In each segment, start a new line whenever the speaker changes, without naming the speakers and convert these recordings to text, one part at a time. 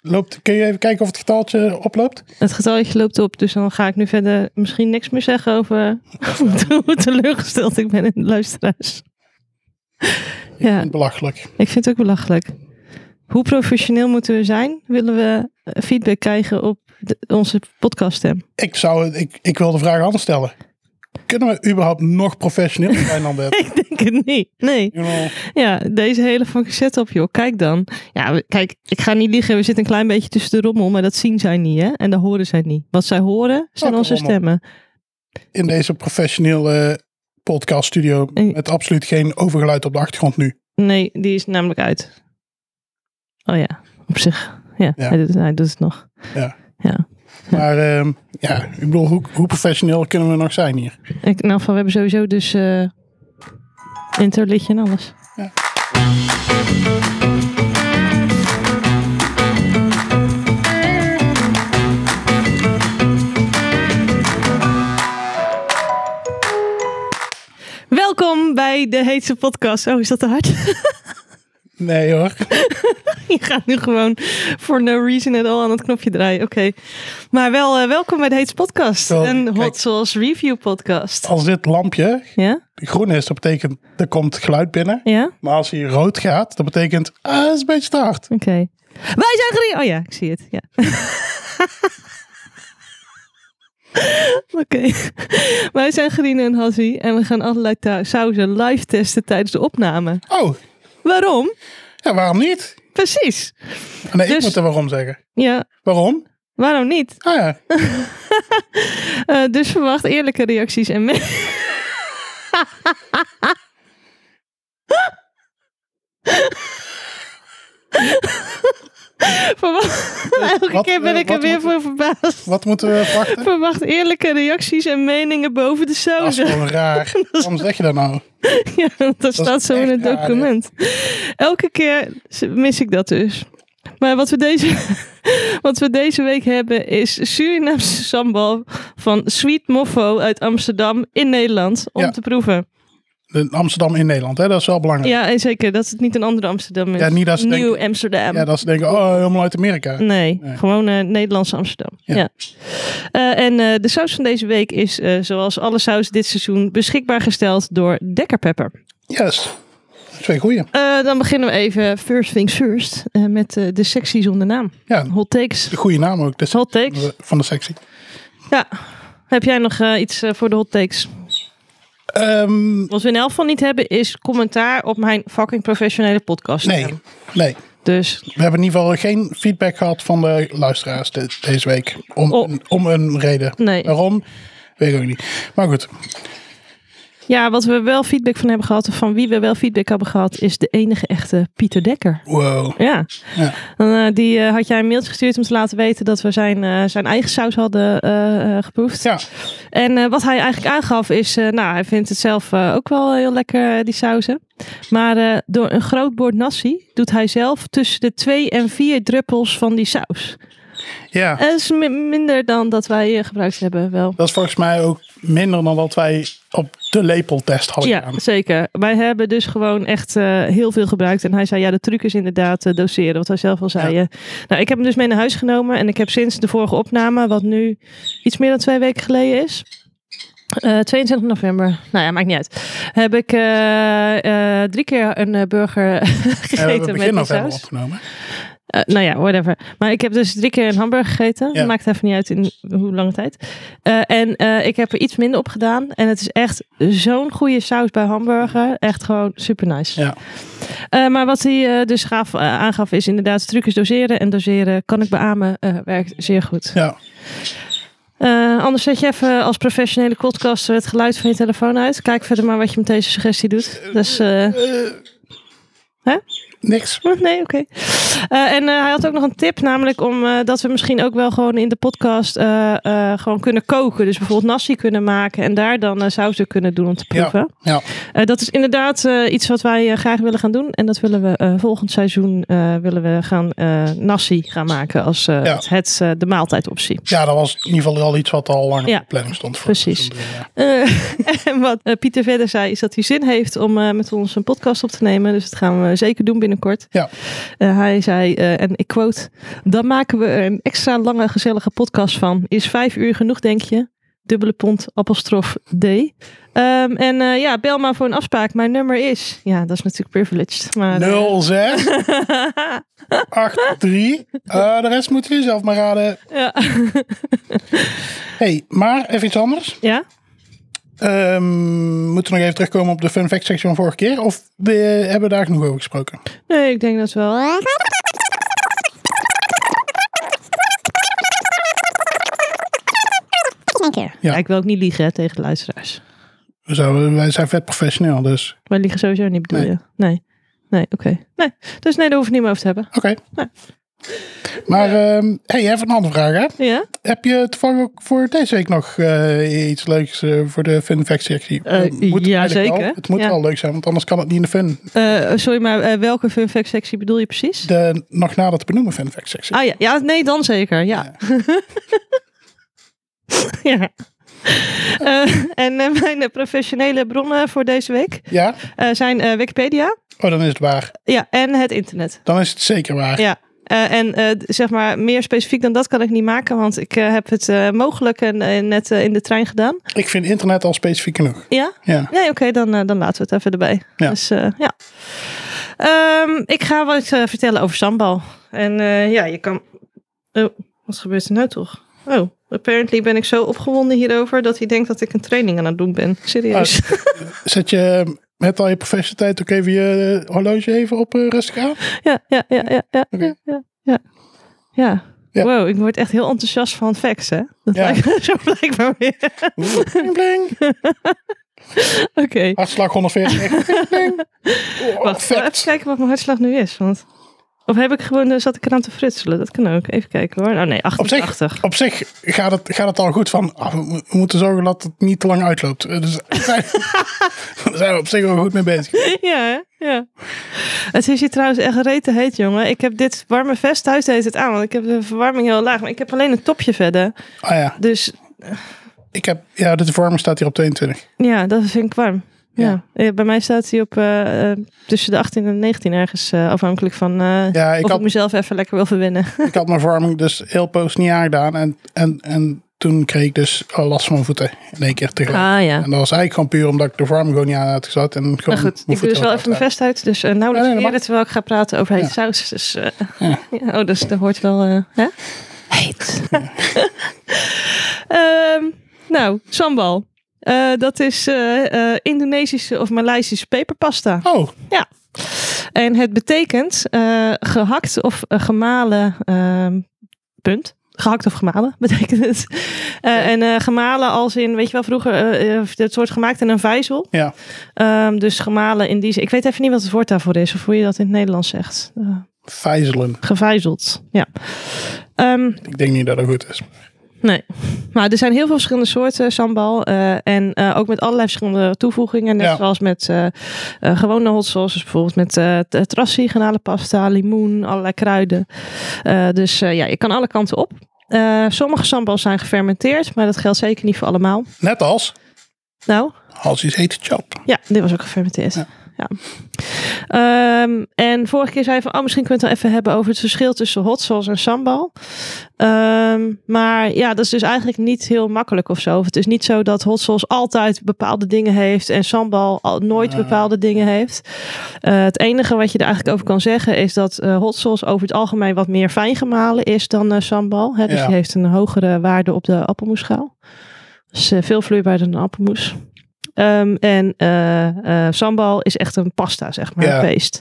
Loopt, kun je even kijken of het getaltje oploopt?
Het getalje loopt op, dus dan ga ik nu verder misschien niks meer zeggen over hoe teleurgesteld ik ben in de luisteraars. Ja,
Belachelijk.
ik vind het ook belachelijk. Hoe professioneel moeten we zijn? Willen we eh, feedback krijgen op de- onze podcaststem?
Ik, zou, ik, ik wil de vraag anders stellen. Kunnen we überhaupt nog professioneel zijn dan dit?
Ik denk het niet. Nee.
You know,
Ja, deze hele fucking setup, joh. Kijk dan. Ja, we- kijk, ik ga niet liegen. We zitten een klein beetje tussen de rommel, maar dat zien zij niet, hè? En dat horen zij niet. Wat zij horen zijn
Welke
onze
rommel?
stemmen.
in deze professionele podcaststudio
En-
met absoluut geen overgeluid op de achtergrond nu.
Nee, die is namelijk uit. Oh ja, op zich. Ja,
Ja.
Hij, doet, hij doet het nog.
Maar ehm, ja, ik bedoel, hoe, hoe professioneel kunnen we nog zijn hier?
Ik, nou, van, we hebben sowieso dus eh interliedje en alles.
Ja.
Welkom bij de heetste podcast. Oh, is dat te hard?
Nee hoor.
Je gaat nu gewoon voor no reason at all aan het knopje draaien. Oké. Maar wel eh, welkom bij de Heets Podcast.
Wel,
een
kijk.
Hot Sauce Review Podcast.
Als dit lampje
Ja?
groen is, dat betekent er komt geluid binnen.
Ja? Oké.
Maar als hij rood gaat, dat betekent, ah, dat is een beetje te hard.
Wij zijn gere... Oh ja, ik zie het. Ja. Oké. Wij zijn Gerine en Hassie en we gaan allerlei ta- sauzen live testen tijdens de opname.
Oh,
Waarom?
ja, waarom niet?
Precies.
Nee, ik
Dus-
moet er waarom zeggen.
Ja,
Waarom?
waarom niet?
Ah ja,
Eh, dus verwacht eerlijke reacties en me- Verwacht... Elke
wat,
keer ben
eh,
ik er
wat
weer
moeten
voor verbaasd.
wat moeten we verwachten?
Verwacht eerlijke reacties en meningen boven de
Dat is
sauzen.
gewoon raar. Waarom zeg je dat nou?
Ja, dat, staat
is
zo in
echt
het
raar, hè?
document. Elke keer mis ik dat dus. Maar wat we deze, wat we deze week hebben is Surinaamse sambal van Sweet Moffo uit Amsterdam in Nederland om
Ja.
te proeven.
De Amsterdam in Nederland, hè? dat is wel belangrijk.
Ja, en zeker dat het niet een andere Amsterdam is.
Ja, niet dat ze
Nieuw
denken-
Amsterdam.
Ja, dat ze denken, oh, helemaal uit Amerika.
Nee,
Nee.
gewoon eh Nederlandse Amsterdam. Ja.
Ja.
Eh, en eh, de saus van deze week is, eh, zoals alle saus dit seizoen, beschikbaar gesteld door Dekker Pepper.
Yes. Twee goeie.
Eh, dan beginnen we even first things first eh, met eh, de sectie zonder naam.
Ja,
Hot takes.
de goede naam ook. De
Hot takes.
van de sectie.
Ja. Heb jij nog eh, iets eh, voor de hot takes?
Ehm,
Wat we in elk geval niet hebben is commentaar op mijn fucking professionele podcast.
nee, nee.
Dus
We hebben in ieder geval geen feedback gehad van de luisteraars de- deze week. Om,
Oh.
een, om een reden.
Nee.
Waarom? Weet ik ook niet. Maar goed,
ja, wat we wel feedback van hebben gehad, of van wie we wel feedback hebben gehad, is de enige echte Pieter Dekker.
wow.
Ja.
Ja.
Dan, eh, die eh, had jij een mailtje gestuurd om te laten weten dat we zijn, eh, zijn eigen saus hadden eh, eh, geproefd.
Ja,
En eh, wat hij eigenlijk aangaf is, eh, nou, hij vindt het zelf eh, ook wel heel lekker, eh, die sauzen. Maar eh, door een groot bord nasi doet hij zelf tussen de twee en vier druppels van die saus.
ja.
Dat is mi- minder dan dat wij eh, gebruikt hebben, wel.
Dat is volgens mij ook minder dan wat wij op de lepeltest hadden
Ja,
gedaan.
zeker. Wij hebben dus gewoon echt eh, heel veel gebruikt. En hij zei, ja, de truc is inderdaad eh, doseren. Wat hij zelf al zei.
Ja.
eh. Nou, ik heb hem dus mee naar huis genomen. En ik heb sinds de vorige opname, wat nu iets meer dan twee weken geleden is. eh, 22 november, nou ja, maakt niet uit. Heb ik eh, eh, drie keer een eh, burger
Ja, we
gegeten
hebben
met
begin
die
november
saus.
opgenomen.
Eh, nou ja, whatever. Maar ik heb dus drie keer een hamburger gegeten.
Ja.
Maakt even niet uit in hoe lange tijd. Eh, en eh, ik heb er iets minder op gedaan. En het is echt zo'n goede saus bij hamburger. Echt gewoon super nice.
Ja.
Eh, maar wat hij eh, dus gaaf, eh, aangaf is inderdaad trucjes doseren. En doseren kan ik beamen, eh, werkt zeer goed.
Ja,
Eh, anders zet je even als professionele podcaster het geluid van je telefoon uit. Kijk verder maar wat je met deze suggestie doet. Dus, eh,
niks.
Nee, oké. Eh, en eh, hij had ook nog een tip, namelijk om eh, dat we misschien ook wel gewoon in de podcast eh, eh, gewoon kunnen koken. Dus bijvoorbeeld nasi kunnen maken en daar dan eh, sausen kunnen doen om te proeven.
Ja,
Eh, dat is inderdaad eh, iets wat wij eh, graag willen gaan doen. En dat willen we eh, volgend seizoen eh, willen we gaan eh, nasi gaan maken als eh,
Ja.
het, het, eh, de maaltijdoptie.
ja, dat was in ieder geval al iets wat al lang
Ja,
op de planning stond. Voor
precies.
het seizoen, ja.
Eh, en wat eh, Pieter verder zei, is dat hij zin heeft om eh, met ons een podcast op te nemen. Dus dat gaan we zeker doen binnenkort.
Ja.
Eh, hij zei, eh, en ik quote, dan maken we er een extra lange gezellige podcast van. Is vijf uur genoeg, denk je? Dubbele pond, apostrof D. Ehm, en eh, ja, bel maar voor een afspraak. Mijn nummer is, ja, dat is natuurlijk privileged. Maar, eh,
06 83. Eh, de rest moeten jullie zelf maar raden.
ja.
hey, maar even iets anders.
ja?
Ehm, moeten we nog even terugkomen op de fun fact section van vorige keer? Of we hebben daar genoeg over gesproken?
Nee, ik denk dat wel.
Een keer.
Ja. ik wil ook niet liegen hè, tegen de luisteraars.
We zouden- wij zijn vet professioneel, dus
Wij liegen sowieso niet, bedoel
Nee.
je? Nee. Nee, oké. Nee. Dus nee, daar hoef ik het niet meer over te hebben.
oké.
Ja.
Maar ehm hey, even een andere vraag. Hè?
Ja?
Heb je toevallig ook voor deze week nog eh, iets leuks eh, voor de fun fact sectie?
Eh,
Het moet
ja,
eigenlijk
zeker.
wel. het moet
Ja.
wel leuk zijn, want anders kan het niet in de fun.
Eh, sorry, maar eh, welke fun fact sectie bedoel je precies?
De nog nader te benoemen fun fact sectie.
Ah ja. ja, nee, dan zeker. Ja. ja. Eh, en eh, mijn eh, professionele bronnen voor deze week
Ja?
eh, zijn eh, Wikipedia
Oh, dan is het waar.
ja, en het internet.
Dan is het zeker waar.
Ja. Eh, en eh, d- zeg maar, meer specifiek dan dat kan ik niet maken, want ik eh, heb het eh, mogelijk en, eh, net eh, in de trein gedaan.
Ik vind internet al specifiek genoeg.
Ja?
Ja.
Nee, oké, dan, eh, dan laten we het even erbij.
Ja.
Dus eh, ja. Ehm, ik ga wat eh, vertellen over sambal. En eh, ja, je kan. Oh, wat gebeurt er nou toch? Oh, apparently ben ik zo opgewonden hierover dat hij denkt dat ik een training aan het doen ben. Serieus.
Ah. Zet je met al je professionaliteit ook even je eh, horloge even op eh, rustig aan?
Ja, ja, ja, ja, ja.
Oké.
Ja, ja, ja.
Ja.
Wow, ik word echt heel enthousiast van facts, hè? Dat
Ja.
lijkt zo blijkbaar weer.
Oeh, Bling, bling.
Oké.
Hartslag 140. Bling, bling. Oh,
Wacht,
vet.
even kijken wat mijn hartslag nu is. Want... Of heb ik gewoon, eh, zat ik eraan te frutselen? Dat kan ook. Even kijken hoor. Oh nee,
Op zich,
88.
op zich gaat, het, gaat het al goed van, ah, we we moeten zorgen dat het niet te lang uitloopt. Eh, Dus daar zijn- daar zijn we op zich wel goed mee bezig.
Ja, hè? ja. Het is hier trouwens echt rete heet, jongen. Ik heb dit warme vest thuis deed het aan, want ik heb de verwarming heel laag. Maar ik heb alleen een topje verder.
Ah ja,
Dus
ik heb, ja, de vorm staat hier op 22.
ja, dat vind ik warm. Ja. Eh, Bij mij staat hij op eh, eh, tussen de 18 en 19 ergens, eh, afhankelijk van eh,
Ja, ik
of
had,
ik mezelf even lekker wil verwennen.
ik had mijn vorming dus heel post niet aangedaan. En, en, en toen kreeg ik dus al last van mijn voeten in één keer tegelijk.
Ah ja.
En dat was eigenlijk gewoon puur omdat ik de vorming gewoon niet aan had gezet. En gewoon
Maar goed, ik doe dus wel even mijn vest uit. Dus eh nauwelijks
Ja, nee, dat
meer
mag.
terwijl ik ga praten over hete
Ja.
saus. Dus, eh, ja, oh, dus dat hoort wel... eh, hè? Heet. Ehm, nou, sambal. Eh, dat is eh, eh, Indonesische of Maleisische peperpasta.
Oh,
En het betekent eh, gehakt of eh, gemalen. ehm, punt. Gehakt of gemalen betekent het. Eh, En eh, gemalen als in, weet je wel, vroeger eh, eh, het wordt gemaakt in een vijzel.
Ja.
Ehm, dus gemalen in die zin. Ik weet even niet wat het woord daarvoor is of hoe je dat in het Nederlands zegt. Eh,
vijzelen.
gevijzeld. Ja. Ehm,
Ik denk niet dat dat goed is.
Nee. Maar er zijn heel veel verschillende soorten sambal. eh, en eh, ook met allerlei verschillende toevoegingen. Net
Ja.
zoals met eh, eh, gewone hot sauces. Bijvoorbeeld met eh t- terrassie, granalenpasta, limoen, allerlei kruiden. Eh, dus eh, ja, je kan alle kanten op. Eh, sommige sambals zijn gefermenteerd, maar dat geldt zeker niet voor allemaal.
Net als,
Nou,
als iets heet chap.
ja, dit was ook gefermenteerd.
Ja.
Ja. Ehm, en vorige keer zei je van, oh, misschien kunnen we het wel even hebben over het verschil tussen hot sauce en sambal. Ehm, maar ja, dat is dus eigenlijk niet heel makkelijk of zo. Of het is niet zo dat hot sauce altijd bepaalde dingen heeft en sambal al, nooit
Nee.
bepaalde dingen heeft. Eh, het enige wat je er eigenlijk over kan zeggen is dat eh, hot sauce over het algemeen wat meer fijn gemalen is dan eh, sambal. Hè? Dus
Ja.
die heeft een hogere waarde op de appelmoesschaal. Dus eh, veel vloeibaarder dan appelmoes. Ehm, en eh, eh, sambal is echt een pasta, zeg maar,
Ja.
een paste.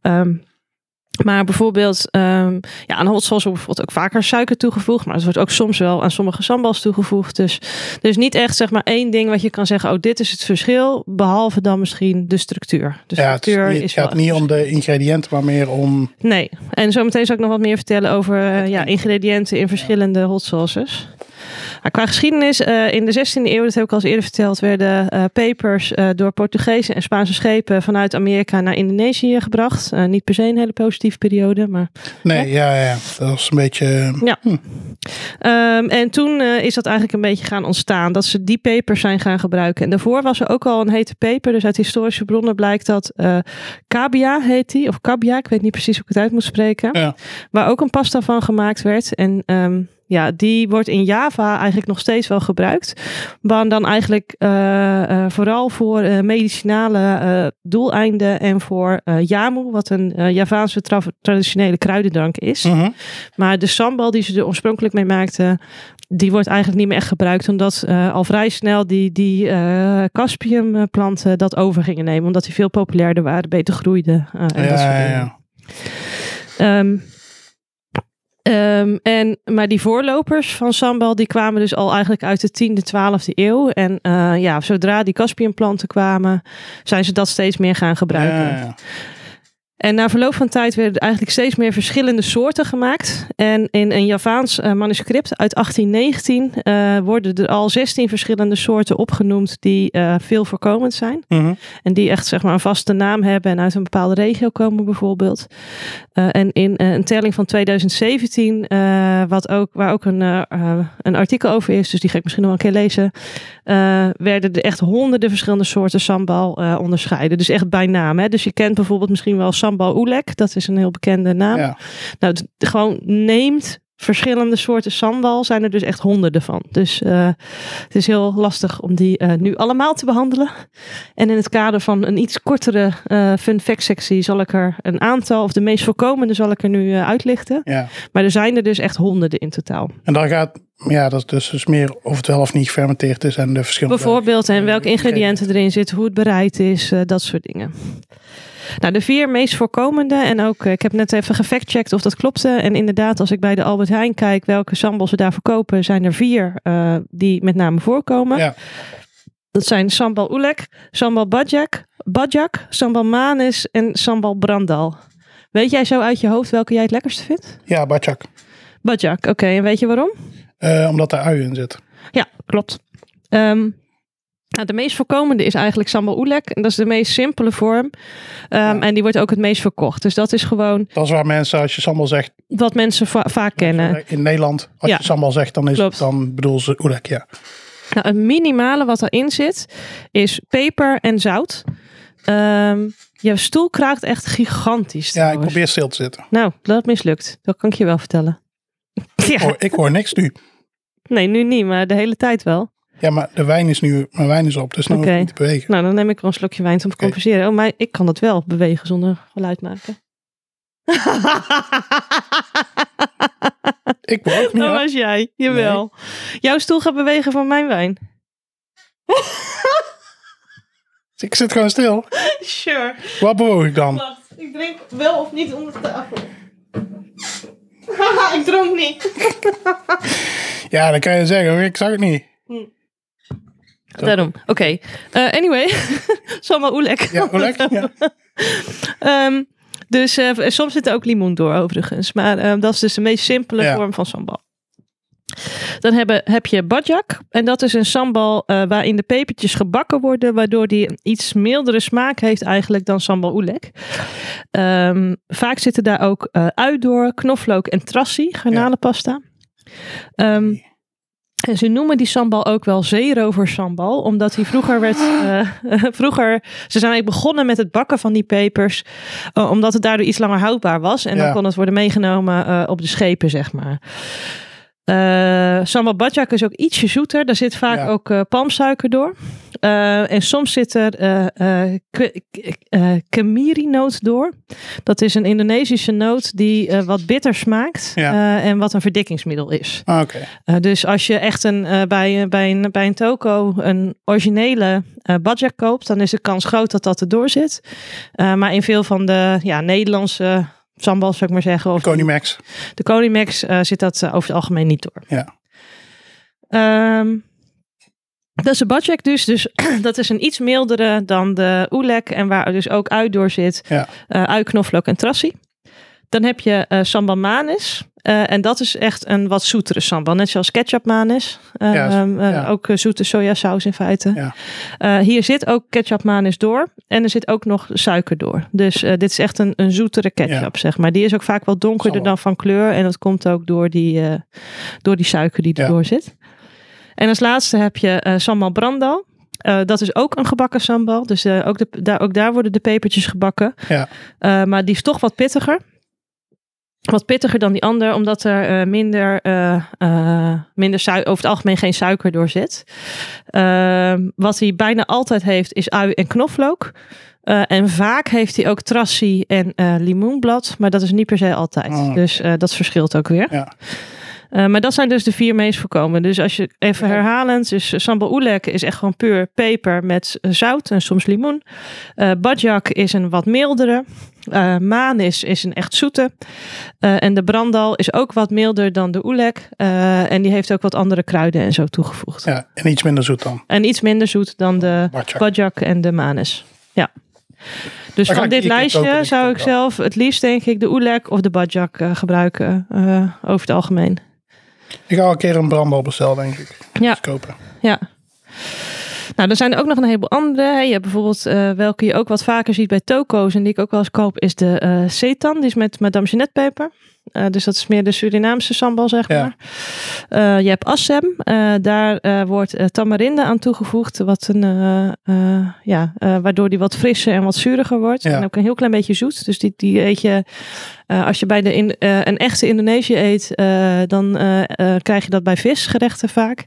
Ehm, maar bijvoorbeeld, ehm, ja, aan hot sauce wordt bijvoorbeeld ook vaker suiker toegevoegd. Maar het wordt ook soms wel aan sommige sambals toegevoegd. Dus er is niet echt zeg maar één ding wat je kan zeggen, oh dit is het verschil. Behalve dan misschien de structuur. De
Ja, het, is
structuur
niet- het
is wel
gaat niet om de ingrediënten, maar meer om...
Nee, en zometeen zal ik nog wat meer vertellen over eh, ja, ingrediënten in verschillende hot sauces. Maar qua geschiedenis, eh, in de 16e eeuw, dat heb ik al eens eerder verteld, werden eh, pepers eh, door Portugese en Spaanse schepen vanuit Amerika naar Indonesië gebracht. Eh, niet per se een hele positieve periode, maar
Nee, ja, ja, dat was een beetje...
Ehm, en toen eh, is dat eigenlijk een beetje gaan ontstaan. Dat ze die papers zijn gaan gebruiken. En daarvoor was er ook al een hete paper. Dus uit historische bronnen blijkt dat eh Kabia heet die. Of Kabia, ik weet niet precies hoe ik het uit moet spreken.
Ja.
Waar ook een pasta van gemaakt werd. En ehm, ja, die wordt in Java eigenlijk nog steeds wel gebruikt. Maar dan eigenlijk eh, eh, vooral voor eh, medicinale eh, doeleinden. En voor eh Yamu, wat een eh, Javaanse tra- traditionele kruidendrank is.
Mhm.
Maar de sambal die ze er oorspronkelijk mee maakten, die wordt eigenlijk niet meer echt gebruikt. Omdat eh, al vrij snel die, die eh caspiumplanten dat over gingen nemen. Omdat die veel populairder waren, beter groeiden. eh, en dat soort
ja, ja,
dingen.
ja.
Ehm, ehm, en, maar die voorlopers van sambal, die kwamen dus al eigenlijk uit de 10e, 12e eeuw. En eh, ja, zodra die caspiumplanten kwamen, zijn ze dat steeds meer gaan gebruiken.
Ja, ja.
En na verloop van tijd werden er eigenlijk steeds meer verschillende soorten gemaakt. En in een Javaans eh, manuscript uit 1819 eh, worden er al 16 verschillende soorten opgenoemd die eh, veel voorkomend zijn.
Mhm.
En die echt zeg maar, een vaste naam hebben en uit een bepaalde regio komen bijvoorbeeld. Eh, en in eh, een telling van 2017, eh, wat ook, waar ook een, eh, eh, een artikel over is, dus die ga ik misschien nog wel een keer lezen, eh, werden er echt honderden verschillende soorten sambal eh, onderscheiden. Dus echt bij naam. Hè? Dus je kent bijvoorbeeld misschien wel sambal oelek, dat is een heel bekende naam.
Ja.
Nou, d- gewoon neemt verschillende soorten sambal, zijn er dus echt honderden van. Dus eh, het is heel lastig om die eh, nu allemaal te behandelen. En in het kader van een iets kortere eh, fun fact sectie zal ik er een aantal, of de meest voorkomende zal ik er nu eh, uitlichten.
ja.
Maar er zijn er dus echt honderden in totaal.
En dan gaat, ja, dat is dus, dus meer of het wel of niet gefermenteerd is en de verschillende.
Bijvoorbeeld en welke ingrediënten erin zitten, hoe het bereid is, eh, dat soort dingen. Nou, de vier meest voorkomende en ook, eh, ik heb net even gefactcheckt of dat klopte. En inderdaad, als ik bij de Albert Heijn kijk welke sambal ze daar verkopen, zijn er vier eh, die met name voorkomen.
Ja.
Dat zijn sambal oelek, sambal badjak, badjak, sambal manis en sambal brandal. Weet jij zo uit je hoofd welke jij het lekkerste vindt?
Ja, batjak.
Badjak, oké. En weet je waarom?
Eh, omdat daar ui in zit.
Ja, klopt. Ehm, nou, de meest voorkomende is eigenlijk sambal oelek. En dat is de meest simpele vorm. Ehm, En die wordt ook het meest verkocht. Dus dat is gewoon
Dat is waar mensen, als je sambal zegt, eh,
wat mensen va- vaak kennen.
in Nederland, als
Ja.
je sambal zegt, dan, is
Klopt.
het, dan bedoel ze oelek, ja.
Nou, het minimale wat erin zit is peper en zout. Ehm, je stoel kraakt echt gigantisch.
Ja, ik
trouwens.
probeer stil te zitten.
Nou, dat mislukt. Dat kan ik je wel vertellen.
Ik
Ja,
hoor, ik hoor niks nu.
nee, nu niet, maar de hele tijd wel.
Ja, maar de wijn is nu, mijn wijn is op, dus nu hoef ik
Oké.
niet te bewegen.
Nou, dan neem ik wel een slokje wijn om te
Oké.
compenseren. Oh, maar ik kan dat wel bewegen zonder geluid maken.
Ik word ook niet.
Dat
hoor.
was jij, jawel. Jouw stoel gaat bewegen van mijn wijn.
Ik zit gewoon stil.
Sure.
Wat bewoog ik dan?
Wacht, ik drink wel of niet onder de tafel. Haha, ik dronk niet.
Ja, dan kan je zeggen, ik zag het niet.
Daarom, oké. Eh, anyway, Salma Oelek.
Ja, oelek? Ja.
Ehm, dus eh, en soms zit er ook limoen door, overigens. Maar ehm, dat is dus de meest simpele
Ja.
vorm van sambal. Dan hebben, heb je badjak. En dat is een sambal eh, waarin de pepertjes gebakken worden. Waardoor die een iets mildere smaak heeft eigenlijk dan sambal oelek. Ehm, vaak zitten daar ook eh ui door, knoflook en trassi, garnalenpasta. Ehm, en ze noemen die sambal ook wel zeeroversambal, omdat die vroeger werd. eh, vroeger, ze zijn eigenlijk begonnen met het bakken van die pepers, eh, omdat het daardoor iets langer houdbaar was. En
Ja.
dan kon het worden meegenomen eh, op de schepen, zeg maar. Eh, sambal badjak is ook ietsje zoeter. Daar zit vaak
Ja.
ook eh, palmsuiker door. Eh, en soms zit er eh eh, k- k- eh, kemiri-noot door. Dat is een Indonesische noot die eh, wat bitter smaakt
Ja.
eh, en wat een verdikkingsmiddel is.
Ah, Oké.
Eh, dus als je echt een, eh, bij, eh, bij, een, bij een toko een originele eh badjak koopt, dan is de kans groot dat dat erdoor zit. Eh, maar in veel van de ja, Nederlandse sambal, zou ik maar zeggen, of
Conimax.
de Conimax, eh, zit dat eh, over het algemeen niet door.
Ja.
Ehm, dat is de badjak dus. Dus dat is een iets mildere dan de oelek. En waar dus ook ui door zit.
Ja.
Eh, ui, knoflook en trassi. Dan heb je eh sambal manis. Eh, en dat is echt een wat zoetere sambal. Net zoals ketchup maan is. Eh,
Ja,
ehm, eh,
ja.
Ook eh, zoete sojasaus in feite.
Ja.
Eh, hier zit ook ketchup manis door. En er zit ook nog suiker door. Dus eh, dit is echt een, een zoetere ketchup, zeg maar. Die is ook vaak wat donkerder
Zal wel.
dan van kleur. En dat komt ook door die, eh, door die suiker die
Ja.
erdoor zit. En als laatste heb je eh sambal brandal. Eh, dat is ook een gebakken sambal. Dus eh, ook, de, daar, ook daar worden de pepertjes gebakken.
Ja.
Eh, maar die is toch wat pittiger. Wat pittiger dan die ander, omdat er eh, minder, eh, eh, minder sui- over het algemeen geen suiker door zit. Ehm, wat hij bijna altijd heeft, is ui en knoflook. Eh, en vaak heeft hij ook trassie en eh, limoenblad. Maar dat is niet per se altijd.
Oh.
Dus eh, dat verschilt ook weer.
Ja.
Eh, maar dat zijn dus de vier meest voorkomende. Dus als je even
Ja.
herhalend, dus eh, sambal oelek is echt gewoon puur peper met eh, zout en soms limoen. Eh badjak is een wat mildere. Eh manis is een echt zoete. Eh, en de brandal is ook wat milder dan de oelek. Eh, en die heeft ook wat andere kruiden en zo toegevoegd.
ja, en iets minder zoet dan.
En iets minder zoet dan de
Badjak.
badjak en de manis. Ja.
Dan
Dus
ga
van
ik die keer
dit
koken,
lijstje
die
zou
kan
ik
wel.
zelf het liefst denk ik de oelek of de badjak eh, gebruiken eh, over het algemeen.
Ik ga al een keer een brandbal bestellen, denk ik.
Ja.
Dus kopen.
Ja. Nou, er zijn er ook nog een heleboel andere. hè. Je hebt bijvoorbeeld, eh, welke je ook wat vaker ziet bij toko's en die ik ook wel eens koop, is de eh seitan. Die is met Madame Jeanette peper. Eh, dus dat is meer de Surinaamse sambal, zeg
Ja.
maar. Eh, je hebt assem. Eh, daar eh, wordt eh, tamarinde aan toegevoegd. Wat een, eh, eh, ja, eh, waardoor die wat frisser en wat zuuriger wordt.
Ja.
En ook een heel klein beetje zoet. Dus die, die eet je eh, als je bij de in, eh, een echte Indonesië eet, eh, dan eh, eh, krijg je dat bij visgerechten vaak.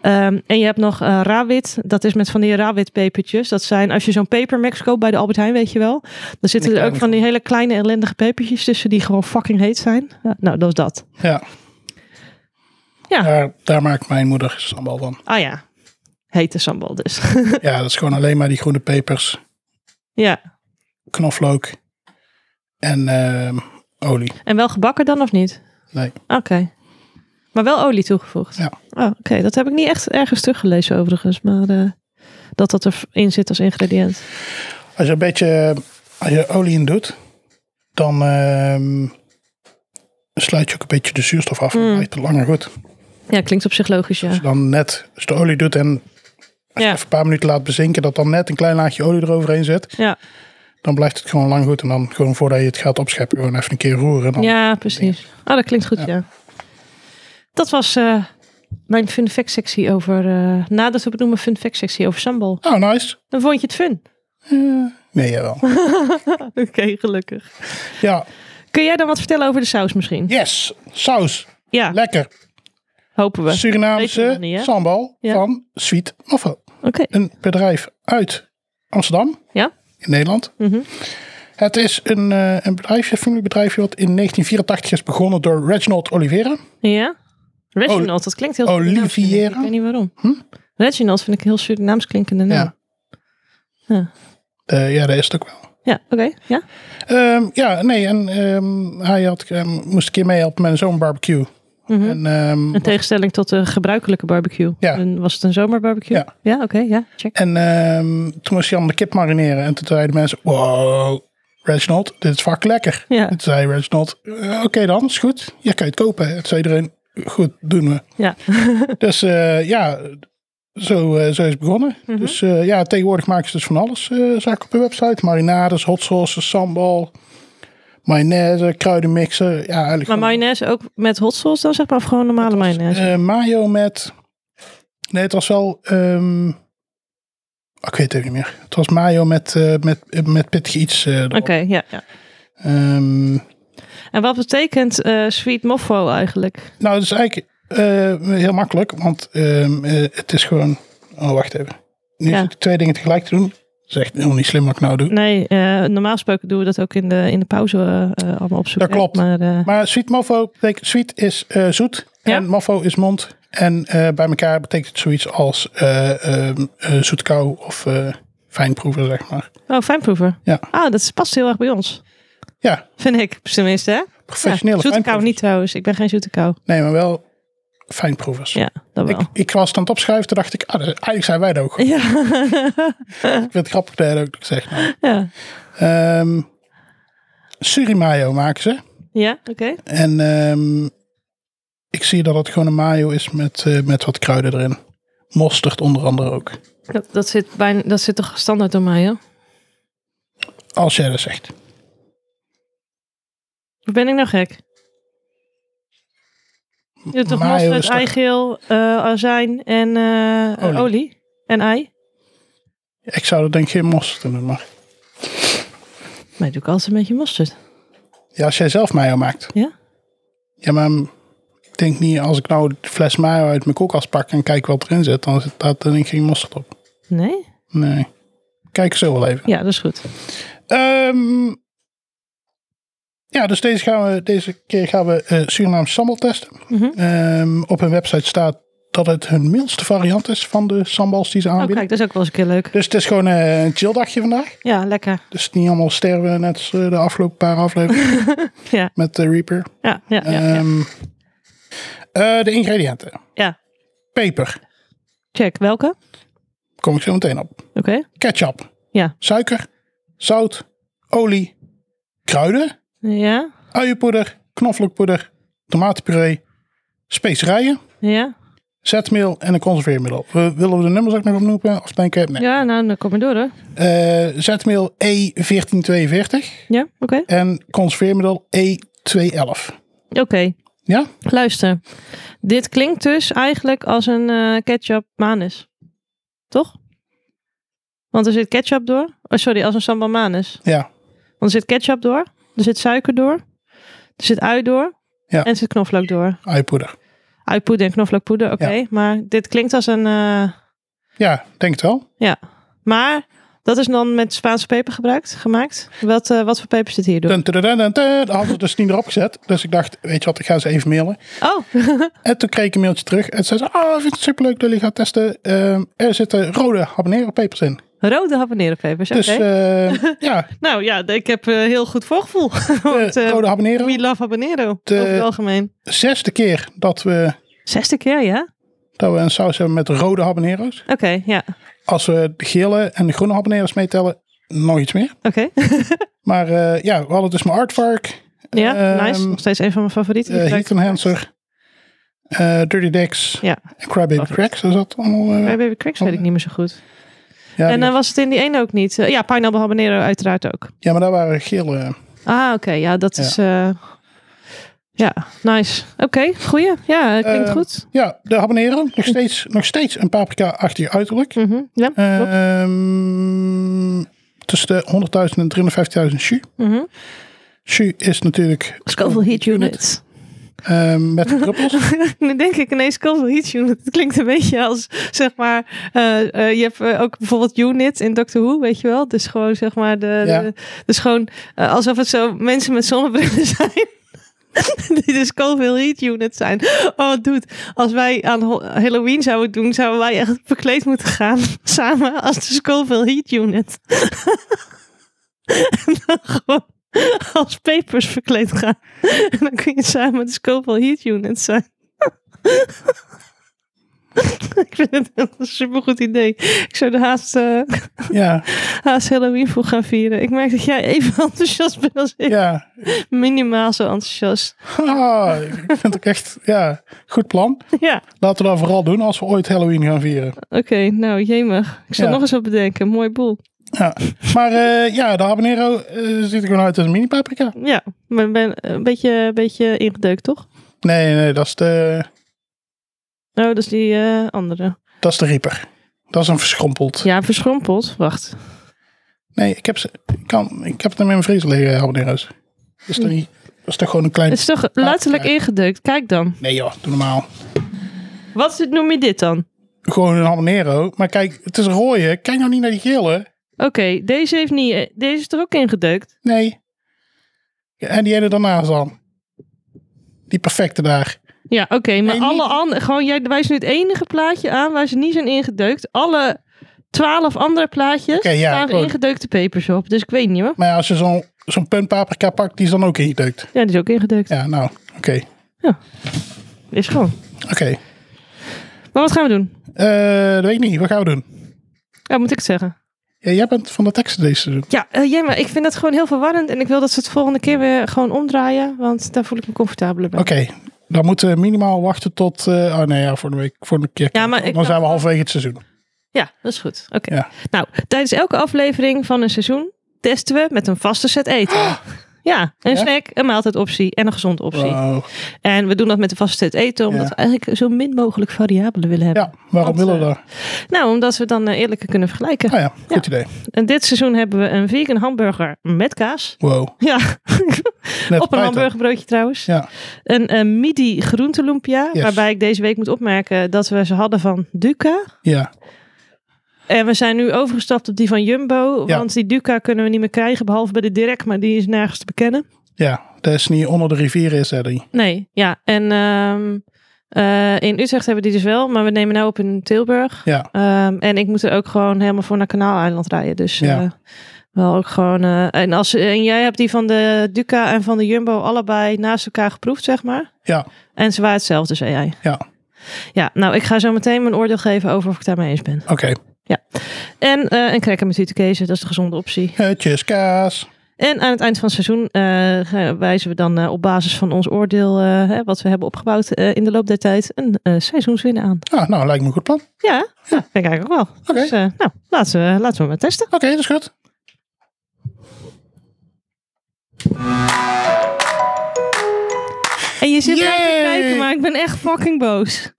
Ehm, en je hebt nog eh rawit. Dat is met van die rawitpepertjes. Dat zijn, als je zo'n pepermax koopt bij de Albert Heijn, weet je wel. Dan zitten er
kleine
ook van die hele kleine ellendige pepertjes tussen die gewoon fucking heet zijn. Ja, nou, dat is dat.
Ja.
Ja.
Daar, daar maakt mijn moeder sambal van.
Ah ja, hete sambal dus.
Ja, dat is gewoon alleen maar die groene pepers,
ja,
knoflook en ehm, olie.
en wel gebakken dan of niet?
Nee.
Oké. Maar wel olie toegevoegd?
Ja.
Oh, Oké, dat heb ik niet echt ergens teruggelezen overigens. Maar eh, dat dat erin zit als ingrediënt.
Als je een beetje als je olie in doet, dan ehm, sluit je ook een beetje de zuurstof af. Dan blijft het langer goed.
Ja, klinkt op zich logisch, Mm. ja.
Als je dan net, als je de olie doet en
Ja,
even een paar minuten laat bezinken, dat dan net een klein laagje olie eroverheen zit,
ja.
dan blijft het gewoon lang goed. En dan gewoon voordat je het gaat opscheppen, gewoon even een keer roeren. En dan
ja precies. Ah, dat klinkt goed, ja. Dat was eh, mijn fun fact sectie over... eh nadat we benoemen fun fact sectie over sambal.
Oh, nice.
Dan vond je het fun.
Nee, jawel.
Oké, gelukkig.
ja,
Kun jij dan wat vertellen over de saus misschien?
yes. Saus.
Ja,
Lekker.
hopen we. Weten we
Surinaamse
nog niet, hè?
sambal
Ja.
van Sweet Muffel.
Oké.
Een bedrijf uit Amsterdam,
Ja?
in Nederland.
Mhm.
Het is een, eh, een bedrijfje, een familiebedrijfje, wat in 1984 is begonnen door Reginald Oliveira.
Ja? Reginald, dat klinkt heel Surinaams, vind ik.
Oliviera?
Ik weet niet waarom. Reginald vind ik een heel Surinaams klinkende naam.
Ja.
Ja.
Eh, ja, dat is het ook wel.
Ja, oké. Ja?
Ehm, ja, nee, en ehm, hij had, ehm, moest een keer meehelpen met zo'n barbecue.
Mhm.
En, ehm,
In tegenstelling tot de gebruikelijke barbecue.
Ja.
Een- Was het een zomerbarbecue?
Ja.
oké. ja, check.
en ehm, toen moest hij allemaal de kip marineren. En toen zeiden mensen, wow, Reginald, dit is vaak lekker.
Ja.
En toen zei Reginald, "Eh, oké dan, is goed. Je kan je het kopen. En toen zei iedereen, goed, doen we.
Ja.
Dus eh, ja, zo, eh, zo is het begonnen. Dus eh, ja, tegenwoordig maken ze dus van alles, eh zag ik op hun website. Marinades, hot sauces, sambal, mayonaise, kruidenmixen. Ja, eigenlijk
Maar
gewoon-
mayonaise ook met hot sauce dan zeg maar of gewoon normale mayonaise?
Eh, mayo met... Nee, het was wel... ehm, ik weet het even niet meer. Het was mayo met, eh met, met pittig iets eh, erop.
Oké, ja, ja.
Ehm,
En wat betekent eh, sweet moffo eigenlijk?
nou, dat is eigenlijk eh, heel makkelijk, want ehm, eh, het is gewoon... Oh, wacht even. Nu
Ja.
zit ik twee dingen tegelijk te doen. Dat is echt helemaal niet slim wat ik nou doe.
Nee, eh, normaal gesproken doen we dat ook in de, in de pauze eh, eh, allemaal
Dat
opzoeken.
klopt.
Maar, eh,
Maar sweet mofo betekent... Sweet is eh, zoet
Ja.
en mofo is mond. En eh, bij elkaar betekent het zoiets als eh ehm, eh, zoet kou of eh fijnproeven, zeg maar.
Oh, fijnproever.
Ja.
Ah, dat past heel erg bij ons.
Ja,
Vind ik, tenminste. Hè?
professionele
zoete kou
fijnproevers.
niet trouwens. Ik ben geen zoete kou.
Nee, maar wel fijnproevers.
Ja, dat wel.
Ik, ik was het aan het opschuiven, toen dacht ik, ah, dat- eigenlijk zijn wij dat ook.
Ja,
Ik vind het grappig dat je dat ook zegt. Nou.
ja.
Ehm, Surimayo maken ze.
Ja, oké.
En ehm, ik zie dat het gewoon een mayo is met, eh, met wat kruiden erin. Mosterd onder andere ook.
Dat, dat, zit bijna, dat zit toch standaard door mij, hè?
Als jij dat zegt.
Of ben ik nou gek? Je doet toch
Mayo is
mosterd,
toch-
eigeel, eh, azijn en eh,
Olie.
olie en ei?
Ik zou er denk ik geen mosterd in doen, maar...
Maar doe ik altijd een beetje mosterd.
Ja, als jij zelf mayo maakt.
Ja?
Ja, maar ik denk niet, als ik nou de fles mayo uit mijn koelkast pak en kijk wat erin zit, dan zit daar denk ik geen mosterd op.
Nee?
Nee. Kijk zo wel even.
Ja, dat is goed. Oh,
Ehm, ja, dus deze, gaan we, deze keer gaan we eh Surinaam sambal testen.
Mhm.
Ehm, op hun website staat dat het hun mildste variant is van de sambals die ze
Oh,
aanbieden.
kijk, dat is ook wel eens een keer leuk.
dus het is gewoon eh, een chill dagje vandaag.
Ja, lekker.
Dus niet allemaal sterven net als eh, de afgelopen paar afleveringen
Ja,
met de Reaper.
ja, ja. ja, ja.
Ehm, eh, de ingrediënten.
ja.
Peper,
Check, welke?
kom ik zo meteen op.
Oké.
Ketchup,
Ja.
suiker, zout, olie, kruiden,
Ja,
uienpoeder, knoflookpoeder, tomatenpuree, specerijen,
ja.
zetmeel en een conserveermiddel. We, willen we de nummers ook nog opnoemen? Of denk je, nee.
Ja, nou, dan kom je door, hoor.
Eh, zetmeel E1442
Ja, oké.
en conserveermiddel E211.
Oké,
Ja?
luister. Dit klinkt dus eigenlijk als een eh, ketchup manis. Toch? Want er zit ketchup door. Oh, sorry, als een sambal manis.
Ja.
Want er zit ketchup door, er zit suiker door, er zit ui door
Ja.
en er zit knoflook door.
Uienpoeder.
Uipoeder en knoflookpoeder, oké. Maar dit klinkt als een... eh,
Ja, denk het wel.
ja. Maar dat is dan met Spaanse peper gebruikt, gemaakt. Wat, eh, wat voor peper zit hier door?
Dun, dun, dun, dun, dun. Hadden ze dus niet erop gezet. Dus ik dacht, weet je wat, ik ga ze even mailen.
Oh,
En toen kreeg ik een mailtje terug. En zei ze, ah, ik vind het superleuk dat jullie gaan testen. Ehm, er zitten rode habanero pepers in.
rode habanerenpepers, oké.
Dus eh, ja,
Nou ja, ik heb eh, heel goed voorgevoel. Want,
de
eh,
rode habanero.
we love habanero,
De-
over het algemeen.
Zesde keer dat we,
Zesde keer, ja?
dat we een saus hebben met rode habanero's.
Oké, ja.
Als we de gele en de groene habanero's meetellen, nog iets meer.
Oké,
Maar eh, ja, we hadden dus mijn Artvark,
ja,
Ehm,
nice. Nog steeds een van mijn favorieten. die
eh
gebruik
Heat
ik.
Enhancer, eh, Dirty Dex
Ja,
en Crybaby Cracks. Is dat allemaal? eh,
Bij Baby Cracks weet ik niet meer zo goed.
ja,
en
die-
dan was het in die ene ook niet. Eh, ja, pineapple habanero uiteraard ook.
ja, maar daar waren gele.
Ah, oké. Ja, dat is... eh, ja, nice. Oké, goeie. Ja, eh, klinkt
Ehm,
goed.
Ja, de habanero,
Hm.
nog steeds, nog steeds een paprika-achtig uiterlijk.
Mhm, Ja,
eh,
klopt.
Ehm, tussen de 100.000 en 350.000 shu.
Mhm.
Shu is natuurlijk
Scoville Heat Unit.
ehm, met de druppels.
nu denk ik ineens Scoville Heat Unit. Het klinkt een beetje als, zeg maar... eh, eh, je hebt eh, ook bijvoorbeeld Unit in Doctor Who, weet je wel? Dus gewoon, zeg maar, de...
Ja.
de- dus gewoon eh, alsof het zo mensen met zonnebrillen zijn. Die de Scoville Heat Unit zijn. Oh, dude. Als wij aan Ho- Halloween zouden doen, zouden wij echt verkleed moeten gaan. Samen als de Scoville Heat Unit. en dan gewoon als papers verkleed gaan. en dan kun je samen de Scoville Heat Unit zijn. Ik vind het echt een supergoed idee. Ik zou de haast, eh,
ja,
haast Halloween voor gaan vieren. Ik merk dat jij even enthousiast bent als ik.
ja.
Minimaal zo enthousiast.
Haha, Ah, ik vind het ook echt ja, goed plan.
Ja,
Laten we dat vooral doen als we ooit Halloween gaan vieren.
oké. nou, jemig. Ik zal
Ja.
nog eens wat bedenken. Mooi boel.
Ja. Maar eh, ja, de habanero eh, ziet er gewoon uit als een mini paprika.
Ja, maar ik ben een beetje, een beetje ingedeukt, toch?
Nee, nee, dat is de,
Oh, dat is die eh, andere.
dat is de rieper. Dat is een verschrompeld.
Ja, verschrompeld. Wacht.
Nee, ik heb, ze, ik, kan, ik heb het in mijn vriezer liggen, eh, habanero's. Dat is, toch niet- dat is toch gewoon een
Het
klein...
is toch letterlijk
kijk.
ingedeukt. Kijk dan.
Nee joh, doe normaal.
Wat is- noem je dit dan?
Gewoon een habanero. Maar kijk, het is een rode. Kijk nou niet naar die gele.
Oké, deze heeft niet. eh, Deze is er ook ingedeukt.
Nee. Ja, en die ene daarnaast dan. Die perfecte daar.
Ja, oké, maar
Nee,
alle
niet-
andere. Gewoon, jij wijst nu het enige plaatje aan waar ze niet zijn ingedeukt. Alle twaalf andere plaatjes
Oké, ja,
staan
goed.
ingedeukte pepers op. Dus ik weet niet hoor.
Maar ja, als je zo'n zo'n puntpaprika pakt, die is dan ook ingedeukt.
Ja, die is ook ingedeukt.
Ja, nou, oké.
Is gewoon.
Oké.
Maar wat gaan we doen?
Eh, dat weet ik niet. Wat gaan we doen?
Ja, moet ik het zeggen?
Ja, jij bent van de teksten deze seizoen.
Ja, eh ja, maar ik vind dat gewoon heel verwarrend. En ik wil dat ze het volgende keer weer gewoon omdraaien. Want daar voel ik me comfortabeler bij.
Oké, dan moeten we minimaal wachten tot... eh, oh nee, ja, voor de week, voor een keer.
Ja, maar ik
dan zijn we
dacht-
halverwege het seizoen.
Ja, dat is goed. Oké.
Ja.
Nou, tijdens elke aflevering van een seizoen testen we met een vaste set eten. Ja, een
Ja?
snack, een maaltijdoptie en een gezonde optie.
Wow.
En we doen dat met de vaste set eten, omdat
Ja.
we eigenlijk zo min mogelijk variabelen willen hebben.
Ja, waarom
Want,
willen we
eh,
dat?
Nou, omdat we dan eh, eerlijker kunnen vergelijken.
Nou ja, goed idee.
En dit seizoen hebben we een vegan hamburger met kaas.
Wow.
Ja,
Net
op een
Python.
hamburgerbroodje trouwens.
Ja.
Een, eh, midi groentelumpia,
Yes.
waarbij ik deze week moet opmerken dat we ze hadden van Duca.
Ja,
En we zijn nu overgestapt op die van Jumbo,
Ja.
want die Duca kunnen we niet meer krijgen, behalve bij de Direct, maar die is nergens te bekennen.
ja. Dat is niet onder de rivier is, hè, die.
Nee, ja. En ehm, eh, in Utrecht hebben die dus wel, maar we nemen nou op in Tilburg.
Ja.
Ehm, en ik moet er ook gewoon helemaal voor naar Kanaaleiland rijden. Dus
Ja.
eh, wel ook gewoon... eh, en, als, en jij hebt die van de Duca en van de Jumbo allebei naast elkaar geproefd, zeg maar.
Ja,
En ze waren hetzelfde, zei jij.
Ja.
Ja, nou, ik ga zo meteen mijn oordeel geven over of ik daarmee eens ben.
oké. Okay.
En eh, een cracker met hutekezen, dat is de gezonde optie.
kaas.
En aan het eind van het seizoen eh, wijzen we dan eh, op basis van ons oordeel, eh, hè, wat we hebben opgebouwd eh, in de loop der tijd, een eh seizoenswin aan.
Ah, nou, lijkt me een goed plan. Oké,
Ja, ja. denk ik eigenlijk ook wel.
Oké.
Dus, eh, nou, laten we, laten we maar testen.
dat is goed.
En je zit
Yay!
naar te kijken, maar ik ben echt fucking boos.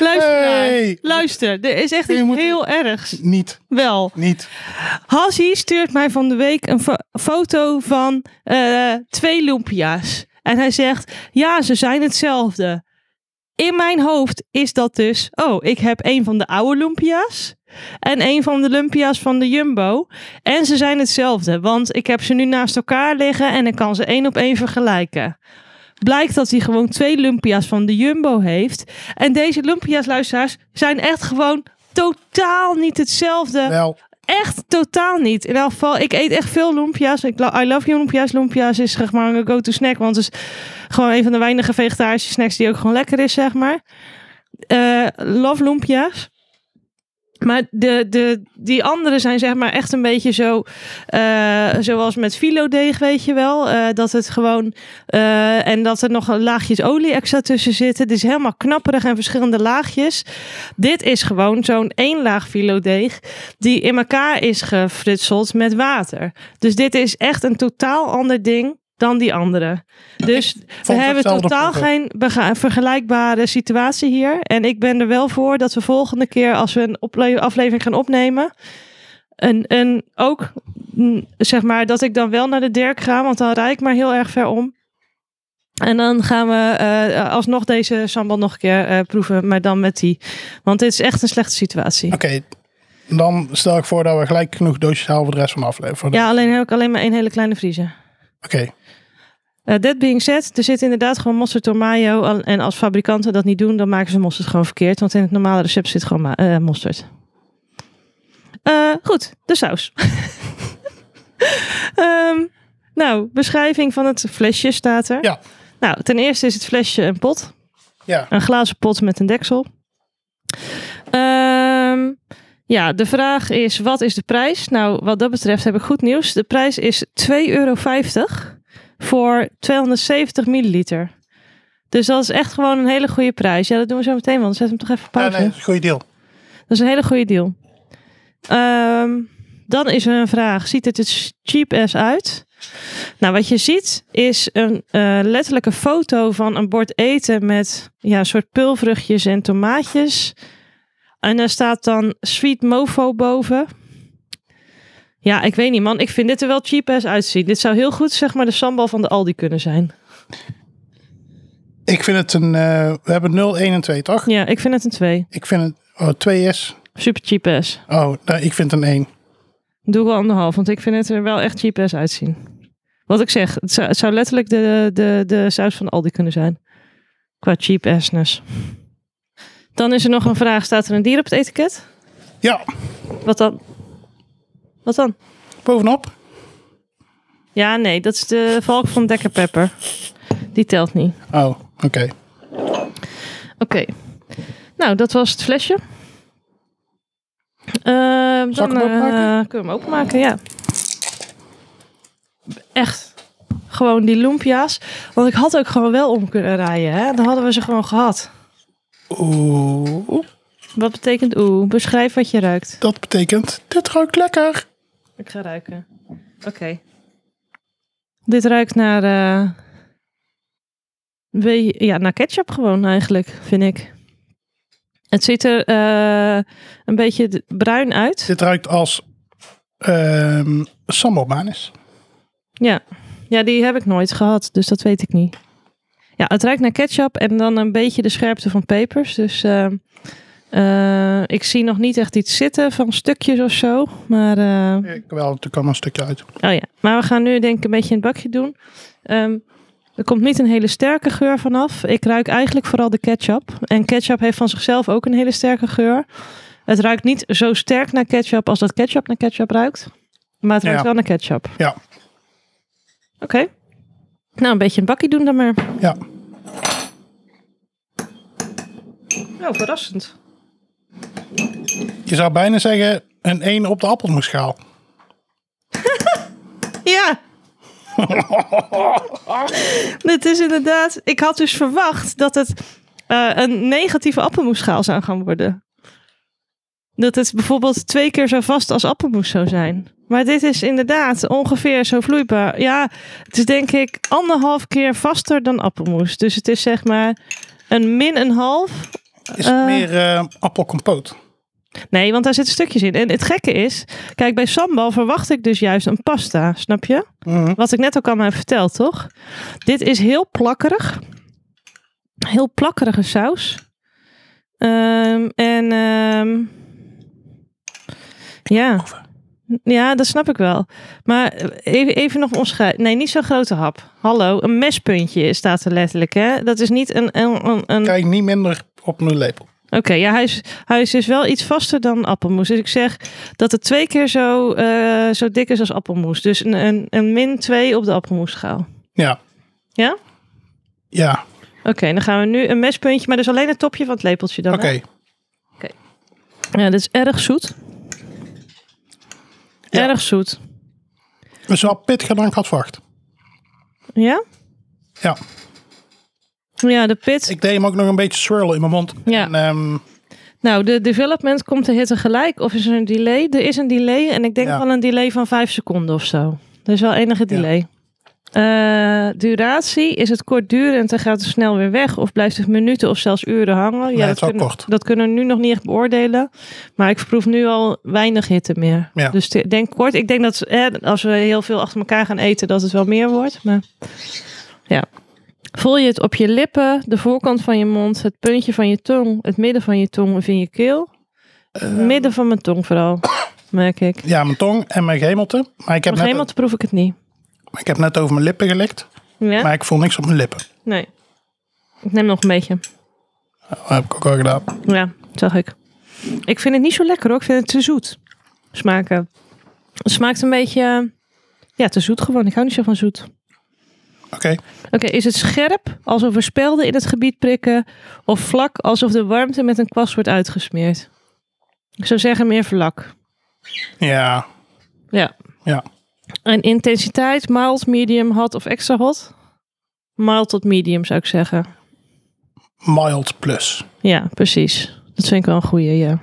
luister,
Hey!
naar, luister, er is echt
Je
iets
moet-
heel ergs.
Niet,
Wel,
niet.
Hassie stuurt mij van de week een fo- foto van eh, twee lumpia's. En hij zegt, ja, ze zijn hetzelfde. In mijn hoofd is dat dus, oh, ik heb een van de oude lumpia's en een van de lumpia's van de Jumbo. En ze zijn hetzelfde, want ik heb ze nu naast elkaar liggen en ik kan ze één op één vergelijken. Blijkt dat hij gewoon twee lumpia's van de Jumbo heeft. En deze lumpia's, luisteraars, zijn echt gewoon totaal niet hetzelfde.
Wel,
Echt totaal niet. In elk geval, ik eet echt veel lumpia's. Ik lo- I love you lumpia's. Lumpia's is zeg maar een go-to snack. Want het is gewoon een van de weinige vegetarische snacks die ook gewoon lekker is, zeg maar. Eh, love lumpia's. Maar de, de, die andere zijn zeg maar echt een beetje zo, eh, zoals met filodeeg, weet je wel. Eh, dat het gewoon, eh, en dat er nog laagjes olie extra tussen zitten. Het is helemaal knapperig en verschillende laagjes. Dit is gewoon zo'n één laag filodeeg die in elkaar is gefritseld met water. Dus dit is echt een totaal ander ding dan die andere. Dus we
het
hebben
hetzelfde
totaal
proppen.
geen bega- vergelijkbare situatie hier. En ik ben er wel voor dat we volgende keer als we een ople- aflevering gaan opnemen... En, en ook, mm, zeg maar, dat ik dan wel naar de Dirk ga, want dan rijd ik maar heel erg ver om. En dan gaan we eh, alsnog deze sambal nog een keer eh, proeven, maar dan met die. Want dit is echt een slechte situatie.
oké. Dan stel ik voor dat we gelijk genoeg doosjes halen voor de rest van de aflevering.
Ja, alleen heb ik alleen maar één hele kleine vriezer.
Oké,
Eh that being said, er zit inderdaad gewoon mosterd door mayo. Al- En als fabrikanten dat niet doen, dan maken ze mosterd gewoon verkeerd. Want in het normale recept zit gewoon ma- eh, mosterd. Eh, goed, de saus. Ehm, nou, beschrijving van het flesje staat er.
Ja.
Nou, ten eerste is het flesje een pot.
ja.
Een glazen pot met een deksel. Ehm, ja, de vraag is: wat is de prijs? Nou, wat dat betreft heb ik goed nieuws. De prijs is 2,50 euro voor 270 milliliter. Dus dat is echt gewoon een hele goede prijs. Ja, dat doen we zo meteen, want dan zet hem toch even op
Ja,
pauze.
nee, dat is een goede deal.
Dat is een hele goede deal. Ehm, dan is er een vraag: ziet het er cheap ass uit? Nou, wat je ziet is een eh, letterlijke foto van een bord eten met ja, een soort pulvruchtjes en tomaatjes. En daar staat dan sweet mofo boven. Ja, ik weet niet man. Ik vind dit er wel cheap ass uitzien. Dit zou heel goed zeg maar de sambal van de Aldi kunnen zijn.
Ik vind het een... eh, we hebben 0, 1 en 2, toch?
Ja, ik vind het een 2.
Ik vind het... Oh, 2 is...
Super cheap ass.
Oh, nou, ik vind een 1.
Doe wel anderhalf, want ik vind het er wel echt cheap ass uitzien. Wat ik zeg, het zou, het zou letterlijk de, de, de saus van Aldi kunnen zijn. Qua cheap assness. Dan is er nog een vraag, staat er een dier op het etiket?
Ja,
Wat dan? Wat dan?
bovenop.
Ja, nee, dat is de valk van Dekker Pepper. Die telt niet.
Oh, oké.
Oké. Nou, dat was het flesje. Eh, dan
Zal ik hem
eh,
openmaken?
kunnen we hem openmaken, ja. Echt. Gewoon die lumpia's. Want ik had ook gewoon wel om kunnen rijden. Hè? Dan hadden we ze gewoon gehad.
Oeh,
Wat betekent oeh? Beschrijf wat je ruikt.
dat betekent, dit ruikt lekker.
Ik ga ruiken. Oké. Dit ruikt naar... eh, wee- ja, naar ketchup gewoon eigenlijk, vind ik. Het ziet er eh, een beetje d- bruin uit.
Dit ruikt als ehm sambalmanis.
Ja. ja, die heb ik nooit gehad, dus dat weet ik niet. Ja, het ruikt naar ketchup en dan een beetje de scherpte van pepers. Dus ehm, eh, ik zie nog niet echt iets zitten van stukjes of zo. Maar, eh,
Ik wel, natuurlijk allemaal een stukje uit.
oh ja. maar we gaan nu denk ik een beetje in het bakje doen. Ehm, er komt niet een hele sterke geur vanaf. Ik ruik eigenlijk vooral de ketchup. En ketchup heeft van zichzelf ook een hele sterke geur. Het ruikt niet zo sterk naar ketchup als dat ketchup naar ketchup ruikt. Maar het ruikt
Ja.
wel naar ketchup.
Ja,
Oké. Nou, een beetje een bakkie doen dan maar.
ja.
Nou, verrassend.
Je zou bijna zeggen, een 1 op de appelmoesschaal.
Ja. Dit is inderdaad... Ik had dus verwacht dat het eh, een negatieve appelmoesschaal zou gaan worden. Dat het bijvoorbeeld twee keer zo vast als appelmoes zou zijn. Maar dit is inderdaad ongeveer zo vloeibaar. Ja, het is denk ik anderhalf keer vaster dan appelmoes. Dus het is zeg maar een min een half
Is het
Eh.
meer eh, appelcompoot?
Nee, want daar zitten stukjes in. En het gekke is, kijk, bij sambal verwacht ik dus juist een pasta, snap je?
Mhm.
Wat ik net ook allemaal heb verteld, toch? Dit is heel plakkerig. Heel plakkerige saus. Ehm, en ehm, ja. Ja, dat snap ik wel. Maar eh, even, even nog omschrijven. Nee, niet zo'n grote hap. Hallo, een mespuntje staat er letterlijk. Hè? Dat is niet een, een, een, een
Krijg ik niet minder op mijn lepel.
Oké, ja, hij is, hij is dus wel iets vaster dan appelmoes. Dus ik zeg dat het twee keer zo, eh, zo dik is als appelmoes. Dus een, een, een min 2 op de appelmoesschaal.
Ja.
Ja?
Ja,
Oké, dan gaan we nu een mespuntje, maar dus alleen het topje van het lepeltje dan.
oké.
hè? Ja, dit is erg zoet.
Ja.
Erg zoet.
Dus wel pittiger dan ik had verwacht.
Ja?
Ja,
Ja, de pit.
ik deed hem ook nog een beetje swirlen in mijn mond.
Ja.
En, ehm,
Nou, de development komt de hitte gelijk. Of is er een delay? Er is een delay en ik denk
Ja.
wel een delay van vijf seconden of zo. Er is wel enige delay. Eh, duratie, is het kortdurend en gaat het snel weer weg? Of blijft het minuten of zelfs uren hangen?
Nee, het is wel
kunnen,
kort.
dat kunnen we nu nog niet echt beoordelen. Maar ik proef nu al weinig hitte meer.
Ja.
Dus ik denk kort. Ik denk dat eh, als we heel veel achter elkaar gaan eten, dat het wel meer wordt. Maar ja. Voel je het op je lippen, de voorkant van je mond, het puntje van je tong, het midden van je tong of in je keel? Het midden van mijn tong vooral, merk ik.
Ehm. ja, mijn tong en mijn gemelte. Maar ik heb,
Nog
net,
helemaal proef ik het niet.
ik heb net over mijn lippen gelikt.
Ja?
Maar ik voel niks op mijn lippen.
Nee. Ik neem nog een beetje.
Dat heb ik ook al gedaan.
Ja, zag ik. Ik vind het niet zo lekker hoor. Ik vind het te zoet smaken. Het smaakt een beetje... eh, Ja, te zoet gewoon. Ik hou niet zo van zoet.
Oké.
Oké, is het scherp alsof er spelden in het gebied prikken of vlak alsof de warmte met een kwast wordt uitgesmeerd? Ik zou zeggen meer vlak.
Ja.
Ja.
Ja.
En intensiteit, mild, medium, hot of extra hot? Mild tot medium zou ik zeggen.
Mild plus.
Ja, precies. Dat vind ik wel een goeie, ja.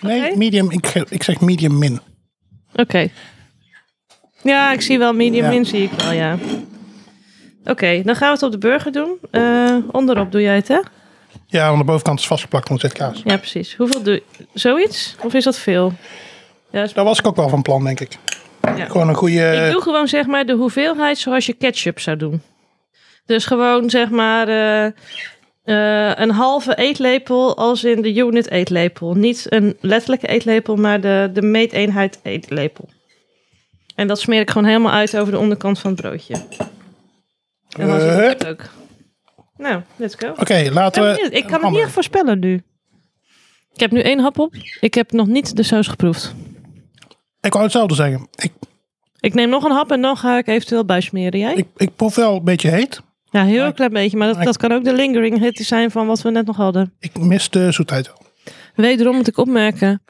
Nee,
Oké.
medium. Ik, ge- ik zeg medium min.
Oké. Ja, ik zie wel medium
Ja.
in, zie ik wel, ja. Oké, dan gaan we het op de burger doen. Eh, onderop doe jij het, hè?
Ja, aan de bovenkant is vastgeplakt want er zit kaas.
Ja, precies. Hoeveel doe Zoiets? Of is dat veel? Ja, is-
Daar was ik ook wel van plan, denk ik.
Ja.
Gewoon een goede...
Ik doe gewoon zeg maar de hoeveelheid zoals je ketchup zou doen. Dus gewoon zeg maar eh, eh, een halve eetlepel als in de unit eetlepel. Niet een letterlijke eetlepel, maar de, de meeteenheid eetlepel. En dat smeer ik gewoon helemaal uit over de onderkant van het broodje. En dan zit het ook. Nou, let's go.
Oké, laten
Ik,
we...
ik kan het
Amber.
niet echt voorspellen nu. Ik heb nu één hap op. Ik heb nog niet de saus geproefd.
Ik wou hetzelfde zeggen. Ik,
Ik neem nog een hap en dan ga ik eventueel bijsmeren. Jij?
ik, ik proef wel een beetje heet.
Ja, heel
Maar-
klein beetje. Maar dat,
maar ik-
dat kan ook de lingering hitte zijn van wat we net nog hadden.
Ik mis de zoetheid wel.
Wederom moet ik opmerken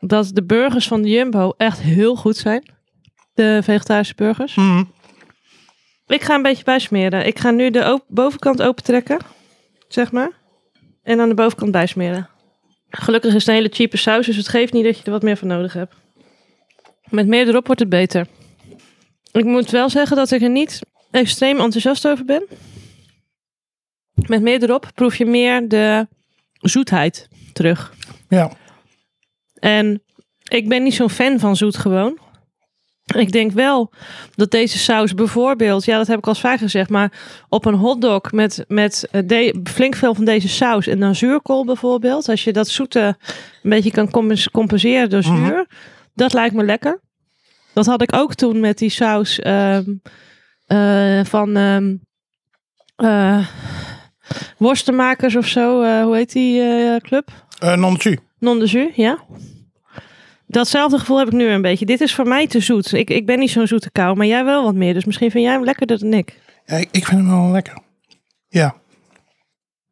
dat de burgers van de Jumbo echt heel goed zijn. De vegetarische burgers.
Mm.
Ik ga een beetje bijsmeren. Ik ga nu de op- bovenkant opentrekken, zeg maar. En aan de bovenkant bijsmeren. Gelukkig is het een hele cheap saus, dus het geeft niet dat je er wat meer van nodig hebt. Met meer erop wordt het beter. Ik moet wel zeggen dat ik er niet extreem enthousiast over ben. Met meer erop proef je meer de zoetheid terug.
Ja.
En ik ben niet zo'n fan van zoet gewoon. Ik denk wel dat deze saus bijvoorbeeld, ja dat heb ik al eens vaker gezegd, maar op een hotdog met, met eh, de, flink veel van deze saus en dan zuurkool bijvoorbeeld. Als je dat zoete een beetje kan compens- compenseren door zuur,
Mhm.
dat lijkt me lekker. Dat had ik ook toen met die saus ehm, eh, van ehm, eh, worstenmakers of zo. eh, hoe heet die eh, club?
Eh non-chu.
Non de jus, ja. Datzelfde gevoel heb ik nu een beetje. Dit is voor mij te zoet. Ik, ik ben niet zo'n zoete kou, maar jij wel wat meer. Dus misschien vind jij hem lekkerder dan ik.
Ja, ik, ik vind hem wel lekker. Ja.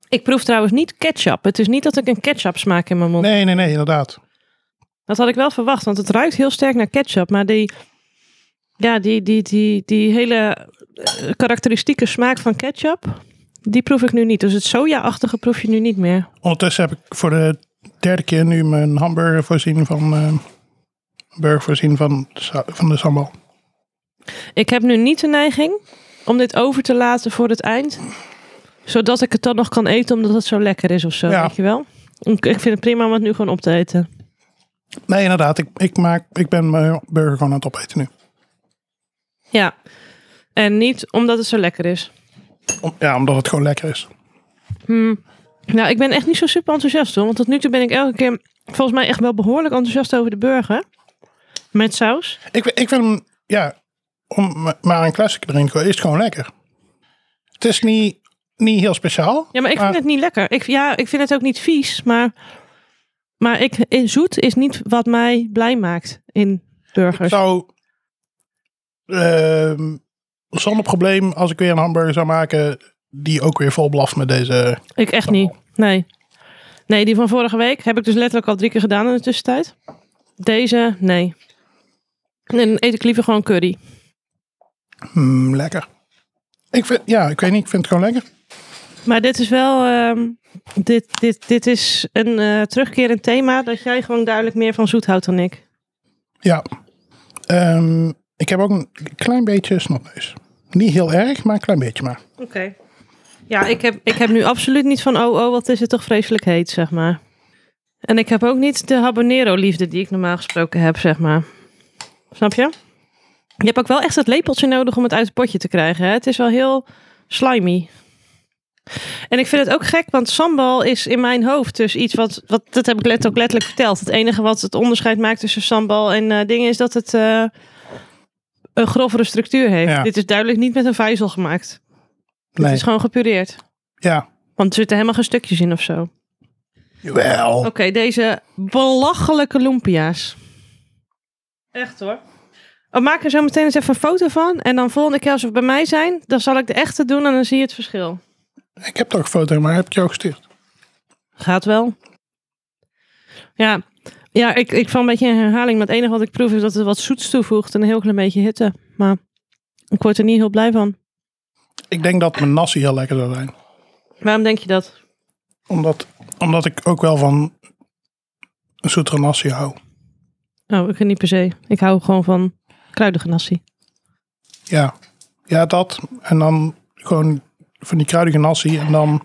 Ik proef trouwens niet ketchup. Het is niet dat ik een ketchup smaak in mijn mond.
Nee, nee, nee, inderdaad.
Dat had ik wel verwacht, want het ruikt heel sterk naar ketchup. Maar die, ja, die, die, die, die hele eh, karakteristieke smaak van ketchup, die proef ik nu niet. Dus het soja-achtige proef je nu niet meer.
Ondertussen heb ik voor de derde keer nu mijn hamburger voorzien van... eh, burger voorzien van, de sa- van de sambal.
Ik heb nu niet de neiging om dit over te laten voor het eind. Zodat ik het dan nog kan eten omdat het zo lekker is of zo,
Ja.
weet je wel? Ik, ik vind het prima om het nu gewoon op te eten.
Nee, inderdaad. Ik, ik, maak, ik ben mijn burger gewoon aan het opeten nu.
Ja. En niet omdat het zo lekker is.
Om- ja, omdat het gewoon lekker is.
Hmm. Nou, ik ben echt niet zo super enthousiast hoor. Want tot nu toe ben ik elke keer volgens mij echt wel behoorlijk enthousiast over de burger. Met saus.
Ik, ik vind hem, ja, om ma- maar een klassieker erin te gooien, is het gewoon lekker. Het is niet, niet heel speciaal.
Ja, maar ik vind
Maar-
het niet lekker. Ik, ja, ik vind het ook niet vies. Maar, maar ik, zoet is niet wat mij blij maakt in burgers.
zou ehm, zonder probleem, als ik weer een hamburger zou maken, die ook weer vol blaft met deze.
Ik echt
Dan
niet. Nee. Nee, die van vorige week heb ik dus letterlijk al drie keer gedaan in de tussentijd. Deze, nee. Nee, dan eet ik liever gewoon curry.
Hmm, lekker. Ik vind, ja, ik weet niet, ik vind het gewoon lekker.
Maar dit is wel. ehm, dit, dit, dit is een eh, terugkerend thema. Dat jij gewoon duidelijk meer van zoet houdt dan ik.
Ja. Ehm, ik heb ook een klein beetje snotneus. Niet heel erg, maar een klein beetje maar.
Oké. Ja, ik heb, ik heb nu absoluut niet van. Oh, oh, wat is het toch vreselijk heet, zeg maar. En ik heb ook niet de habanero-liefde die ik normaal gesproken heb, zeg maar. Snap je? Je hebt ook wel echt dat lepeltje nodig om het uit het potje te krijgen. Hè? Het is wel heel slimy. En ik vind het ook gek, want sambal is in mijn hoofd dus iets wat... wat dat heb ik let, ook letterlijk verteld. Het enige wat het onderscheid maakt tussen sambal en eh, dingen... is dat het eh, een grovere structuur heeft.
Ja.
Dit is duidelijk niet met een vijzel gemaakt.
Nee.
Het is gewoon gepureerd.
Ja.
Want er zitten helemaal geen stukjes in of zo. Oké,
Jawel.
deze belachelijke lumpia's. Echt hoor. We maken er zo meteen eens even een foto van. En dan volgende keer als we bij mij zijn, dan zal ik de echte doen en dan zie je het verschil.
Ik heb toch een foto, maar heb ik jou gestuurd?
Gaat wel. Ja, ja ik, ik val een beetje in herhaling. Maar het enige wat ik proef is dat het wat zoets toevoegt en een heel klein beetje hitte. Maar ik word er niet heel blij van.
Ik denk dat mijn nasi heel lekker zou zijn.
Waarom denk je dat?
Omdat, omdat ik ook wel van een zoetere nasi hou.
Oh, ik niet per se. Ik hou gewoon van kruidige nasi.
Ja. ja, dat. En dan gewoon van die kruidige nasi en dan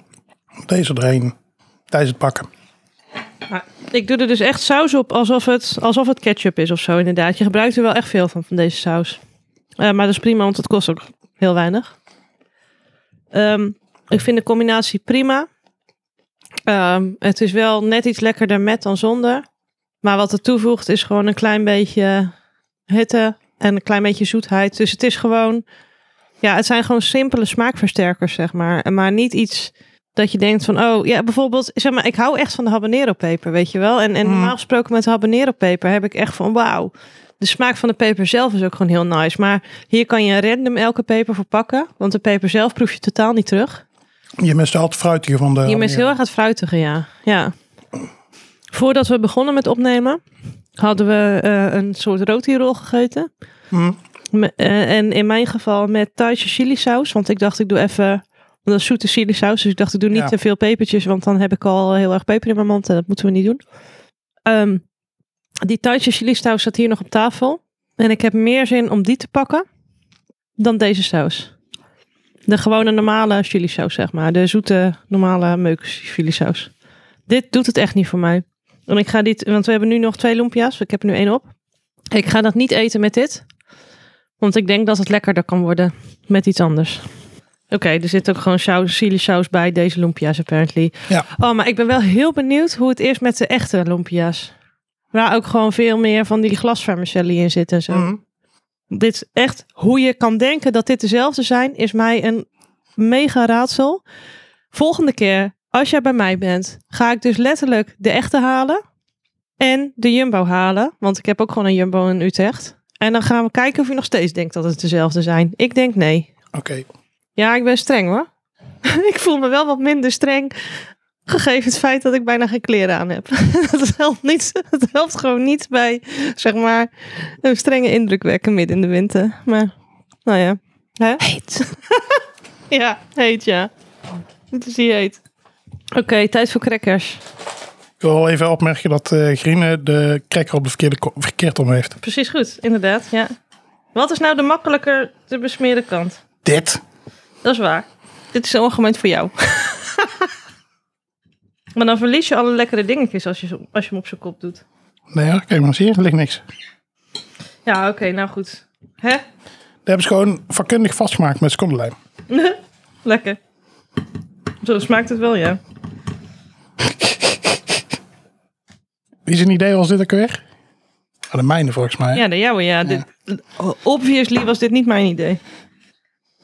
deze erheen tijdens het bakken.
Maar ik doe er dus echt saus op alsof het, alsof het ketchup is of zo, inderdaad. Je gebruikt er wel echt veel van, van deze saus. Eh, maar dat is prima, want het kost ook heel weinig. Ehm, ik vind de combinatie prima. Ehm, het is wel net iets lekkerder met dan zonder. Maar wat het toevoegt is gewoon een klein beetje hitte en een klein beetje zoetheid. Dus het is gewoon... Ja, het zijn gewoon simpele smaakversterkers, zeg maar. Maar niet iets dat je denkt van, oh ja, bijvoorbeeld, zeg maar, ik hou echt van de habanero peper, weet je wel. En, en
Mm.
normaal gesproken met de habanero peper heb ik echt van, wauw. De smaak van de peper zelf is ook gewoon heel nice. Maar hier kan je random elke peper voor pakken, want de peper zelf proef je totaal niet terug.
Je mist altijd fruitige van de.
Je mist heel erg het fruitige, ja. ja. Voordat we begonnen met opnemen, hadden we eh, een soort roti-rol gegeten.
Mm.
Me- eh, en in mijn geval met Thaise chilisaus. Want ik dacht, ik doe even. Want dat is zoete chilisaus. Dus ik dacht, ik doe niet
Ja.
te veel pepertjes. Want dan heb ik al heel erg peper in mijn mond. En dat moeten we niet doen. Ehm, die Thaise chilisaus zat hier nog op tafel. En ik heb meer zin om die te pakken. Dan deze saus. De gewone normale chilisaus, zeg maar. De zoete, normale meuk chilisaus. Dit doet het echt niet voor mij. En ik ga dit, want we hebben nu nog twee lumpia's. Ik heb er nu één op. Ik ga dat niet eten met dit. Want ik denk dat het lekkerder kan worden met iets anders. Oké, er zit ook gewoon saus, chilisaus bij deze lumpia's apparently.
Ja.
Oh, maar ik ben wel heel benieuwd hoe het is met de echte lumpia's. Waar ook gewoon veel meer van die glasvermicelli in zitten en zo.
Mm.
Dit is echt hoe je kan denken dat dit dezelfde zijn, is mij een mega raadsel. Volgende keer, als jij bij mij bent, ga ik dus letterlijk de echte halen en de jumbo halen. Want ik heb ook gewoon een jumbo in Utrecht. En dan gaan we kijken of je nog steeds denkt dat het dezelfde zijn. Ik denk nee.
Oké.
Ja, ik ben streng hoor. ik voel me wel wat minder streng. Gegeven het feit dat ik bijna geen kleren aan heb. dat, helpt niet, dat helpt gewoon niet bij, zeg maar, een strenge indruk wekken midden in de winter. Maar, nou ja. Hè? Heet. ja, heet ja. Het is hier heet. Oké, tijd voor crackers.
Ik wil wel even opmerken dat eh Grine de cracker op de verkeerde ko- verkeerd om heeft.
Precies goed, inderdaad. Ja. Wat is nou de makkelijker te besmeren kant?
Dit.
Dat is waar. Dit is ongemeen voor jou. maar dan verlies je alle lekkere dingetjes als je, zo- als je hem op zijn kop doet.
Nee, hoor, kijk maar eens hier, er ligt niks.
Ja, oké, nou goed. Hè?
Dat hebben ze gewoon vakkundig vastgemaakt met secondenlijm.
Lekker. Zo smaakt het wel, ja.
Wie zijn idee was dit ook weer? Ah, de mijne volgens mij.
Ja, de jouwe, ja. Dit, obviously was dit niet mijn idee.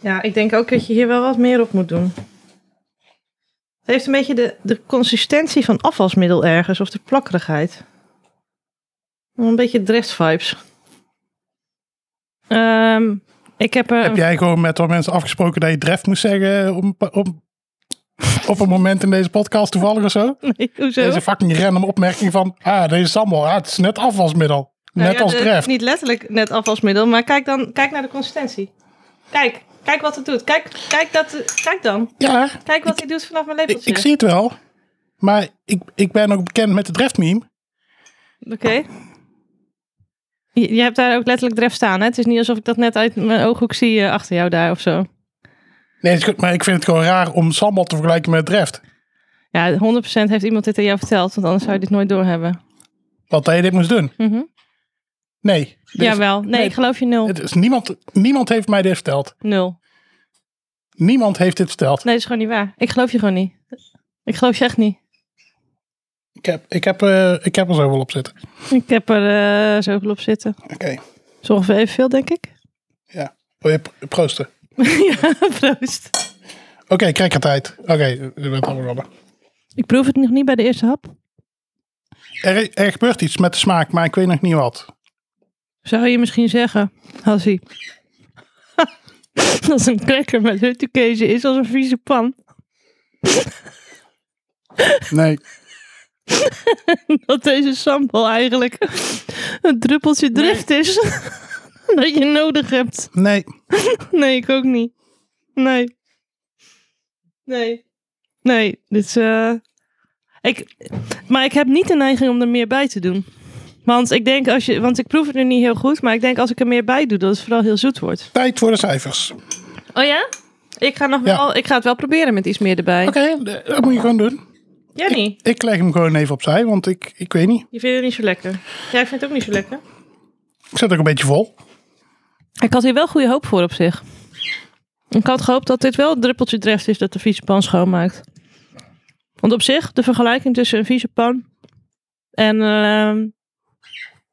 Ja, ik denk ook dat je hier wel wat meer op moet doen. Het heeft een beetje de, de consistentie van afwasmiddel ergens, of de plakkerigheid. Wel Een beetje dress vibes. Ehm, ik heb er...
Heb jij gewoon met wat mensen afgesproken dat je dref moest zeggen op, een pa- op, op een moment in deze podcast toevallig of zo?
Nee, hoezo?
Deze fucking random opmerking van, ah, deze sambal, ah, het is net afwasmiddel. Net
Nou ja,
als
de-
dref.
Niet letterlijk net afwasmiddel, maar kijk dan kijk naar de consistentie. Kijk, kijk wat het doet. Kijk, kijk, dat, kijk dan.
Ja,
Kijk wat hij doet vanaf mijn
ik,
lepeltje.
ik zie het wel. Maar ik, ik ben ook bekend met de dref meme.
Oké. Je, je hebt daar ook letterlijk dref staan, hè? Het is niet alsof ik dat net uit mijn ooghoek zie eh, achter jou daar of zo.
Nee, het is goed, maar ik vind het gewoon raar om sambal te vergelijken met dref.
Ja, 100% heeft iemand dit aan jou verteld, want anders zou je dit nooit doorhebben.
Wat hij dit moest doen.
Mhm.
Nee. dit is-
Jawel. Nee,
nee.
ik geloof je nul.
Het is, niemand, niemand heeft mij dit verteld.
Nul.
Niemand heeft dit verteld.
Nee, dat is gewoon niet waar. Ik geloof je gewoon niet. Ik geloof je echt niet.
Ik heb, ik heb, eh, ik heb er zoveel op zitten.
Ik heb er eh, zoveel op zitten.
Oké.
Dat is ongeveer evenveel, denk ik.
Ja. Wil je pro- proosten?
ja, proost.
Oké, crackertijd. Oké, we zijn al begonnen.
Ik proef het nog niet bij de eerste hap.
Er, er gebeurt iets met de smaak, maar ik weet nog niet wat.
Zou je misschien zeggen, Hassie, dat een cracker met huttekezen is als een vieze pan.
Nee.
Dat deze sambal eigenlijk een druppeltje drift is dat je nodig hebt.
Nee.
Nee, ik ook niet. Nee. Nee. Nee, dit is... eh, Ik, maar ik heb niet de neiging om er meer bij te doen. Want ik denk als je... Want ik proef het nu niet heel goed. Maar ik denk als ik er meer bij doe, dat het vooral heel zoet wordt.
Tijd voor de cijfers. Oké,
Oh ja? Ik ga, nog
Ja.
wel, ik ga het wel proberen met iets meer erbij.
de- dat moet je gewoon doen.
Jenny,
Ik leg hem gewoon even opzij, want ik, ik weet niet.
je vindt het niet zo lekker. Jij vindt het ook niet zo lekker.
Ik zit ook een beetje vol.
Ik had hier wel goede hoop voor op zich. Ik had gehoopt dat dit wel een druppeltje dreft is dat de vieze pan schoonmaakt. Want op zich, de vergelijking tussen een vieze pan en ehm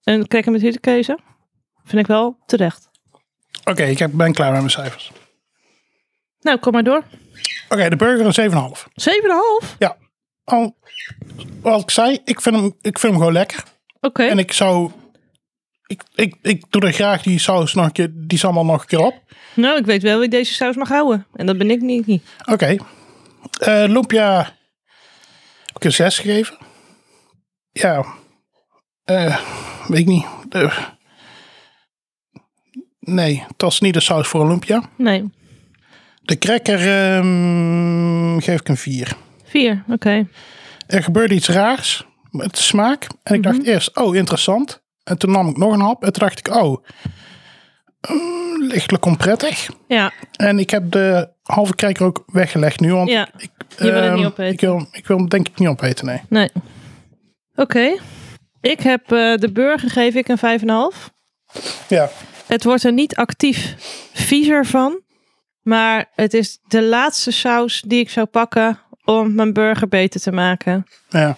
een cracker met hittekezen, vind ik wel terecht.
Oké, ik heb- ben klaar met mijn cijfers. Oké,
Nou, kom maar door. 7,5.
de burger een 7,5.
Oké.
Ja. Al, wat ik zei, ik vind, hem, ik vind hem gewoon lekker. En ik zou... Ik, ik, ik doe er graag die saus nog een keer, die sambal nog een keer op.
Nou, ik weet wel wie deze saus mag houden. En dat ben ik niet. niet.
Oké. Eh Lumpia heb ik een 6 gegeven. ja, eh, weet ik niet. Eh, nee, dat is niet de saus voor een lumpia.
Nee.
De cracker ehm, geef ik een 4.
Vier, oké.
Er gebeurde iets raars met de smaak. En ik dacht eerst, oh, interessant. En toen nam ik nog een hap. En toen dacht ik, oh, mm, lichtelijk onprettig.
Ja,
En ik heb de halve cracker ook weggelegd nu. Want
ja.
ik,
wil het
ehm,
niet opeten.
Ik wil, ik wil hem denk ik niet opeten, nee.
Nee. Oké. Ik heb eh, de burger geef ik een 5,5.
Ja,
Het wordt er niet actief viezer van. Maar het is de laatste saus die ik zou pakken om mijn burger beter te maken.
ja.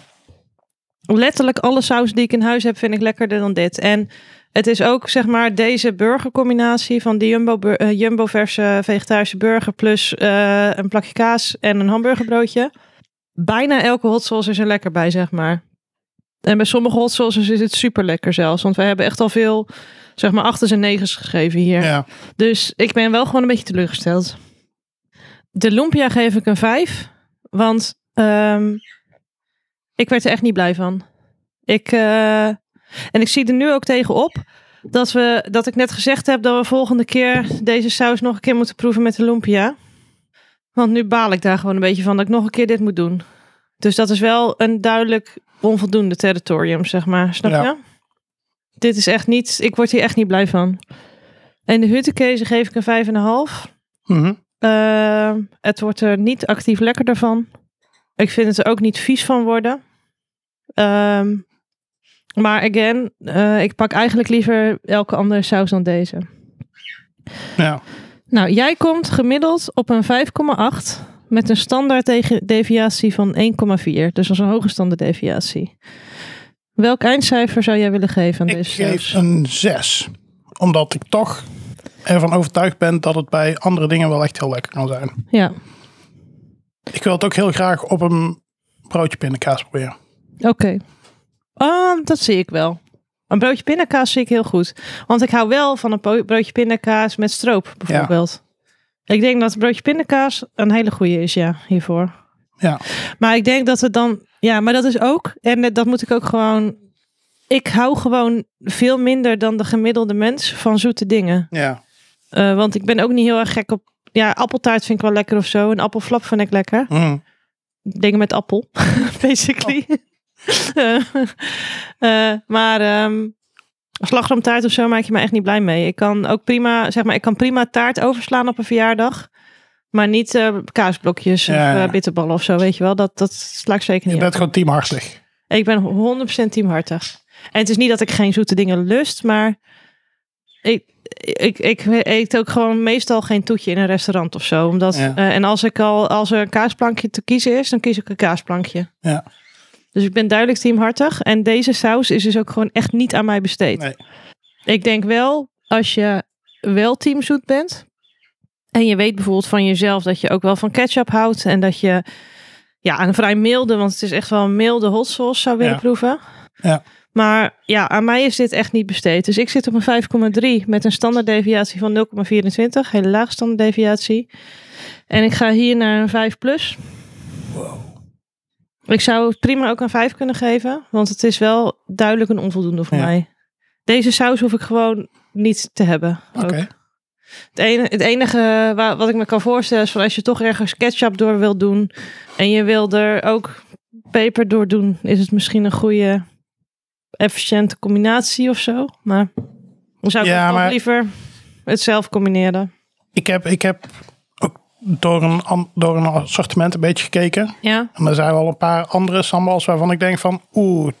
letterlijk alle saus die ik in huis heb, vind ik lekkerder dan dit. En het is ook, zeg maar, deze burgercombinatie van die jumbo, bur- eh, jumbo verse vegetarische burger plus eh, een plakje kaas en een hamburgerbroodje. Bijna elke hot sauce is er lekker bij, zeg maar. En bij sommige hot sauces is het super lekker zelfs. Want wij hebben echt al veel, zeg maar, achters en negens gegeven hier.
ja.
Dus ik ben wel gewoon een beetje teleurgesteld. De Lumpia geef ik een 5. Want ehm, ik werd er echt niet blij van. Ik, eh, en ik zie er nu ook tegenop dat, we, dat ik net gezegd heb dat we volgende keer deze saus nog een keer moeten proeven met de Lumpia. Want nu baal ik daar gewoon een beetje van dat ik nog een keer dit moet doen. Dus dat is wel een duidelijk onvoldoende territorium, zeg maar. Snap
Ja.
je? Dit is echt niet, ik word hier echt niet blij van. En de huttenkezen geef ik een 5,5.
Mhm.
Eh, het wordt er niet actief lekkerder van. Ik vind het er ook niet vies van worden. Ehm, maar again, eh, ik pak eigenlijk liever elke andere saus dan deze.
ja.
Nou, jij komt gemiddeld op een 5,8 met een standaard dege- deviatie van 1,4. Dus dat is een hoge standaard deviatie. Welk eindcijfer zou jij willen geven aan
Ik
deze
geef
saus?
een 6. Omdat ik toch ervan overtuigd ben dat het bij andere dingen wel echt heel lekker kan zijn.
Ja,
Ik wil het ook heel graag op een broodje pindakaas proberen.
Oké. Ah, dat zie ik wel. Een broodje pindakaas zie ik heel goed. Want ik hou wel van een po- broodje pindakaas met stroop, bijvoorbeeld. Ik denk dat een broodje pindakaas een hele goede is, ja, hiervoor.
Ja,
Maar ik denk dat het dan... Ja, maar dat is ook... En eh, dat moet ik ook gewoon... Ik hou gewoon veel minder dan de gemiddelde mens van zoete dingen.
ja,
Eh, want ik ben ook niet heel erg gek op... Ja, appeltaart vind ik wel lekker of zo. Een appelflap vind ik lekker
Mhm.
dingen met appel, basically.
Oh.
Eh, eh, maar ehm slagroomtaart of zo maak je me echt niet blij mee. Ik kan ook prima, zeg maar, ik kan prima taart overslaan op een verjaardag. Maar niet eh, kaasblokjes
Ja,
of
ja.
eh, bitterballen of zo, weet je wel. Dat, dat sla ik zeker
je
niet
bent gewoon teamhartig.
op. Ik ben 100% teamhartig. En het is niet dat ik geen zoete dingen lust, maar ik, ik, ik eet ook gewoon meestal geen toetje in een restaurant of zo. Omdat,
Ja.
eh, en als, ik al, als er een kaasplankje te kiezen is, dan kies ik een kaasplankje.
Ja.
Dus ik ben duidelijk teamhartig. En deze saus is dus ook gewoon echt niet aan mij besteed.
Nee.
Ik denk wel, als je wel teamzoet bent. En je weet bijvoorbeeld van jezelf dat je ook wel van ketchup houdt. En dat je ja, een vrij milde, want het is echt wel een milde hot sauce zou willen
Ja.
proeven.
Ja.
Maar ja, aan mij is dit echt niet besteed. Dus ik zit op een 5,3 met een standaarddeviatie van 0,24. Hele laag standaarddeviatie. En ik ga hier naar een 5 plus. Ik zou het prima ook een 5 kunnen geven, want het is wel duidelijk een onvoldoende voor
Ja.
mij. Deze saus hoef ik gewoon niet te hebben.
Oké.
Ook. Het enige, het enige wa- wat ik me kan voorstellen is van als je toch ergens ketchup door wilt doen en je wil er ook peper door doen, is het misschien een goede, efficiënte combinatie of zo. Maar dan zou ik
Ja,
ook
maar-
liever het zelf combineren.
Ik, heb, ik heb ook door een, am- door een assortiment een beetje gekeken.
Ja,
En er zijn wel een paar andere sambals waarvan ik denk van... Oeh,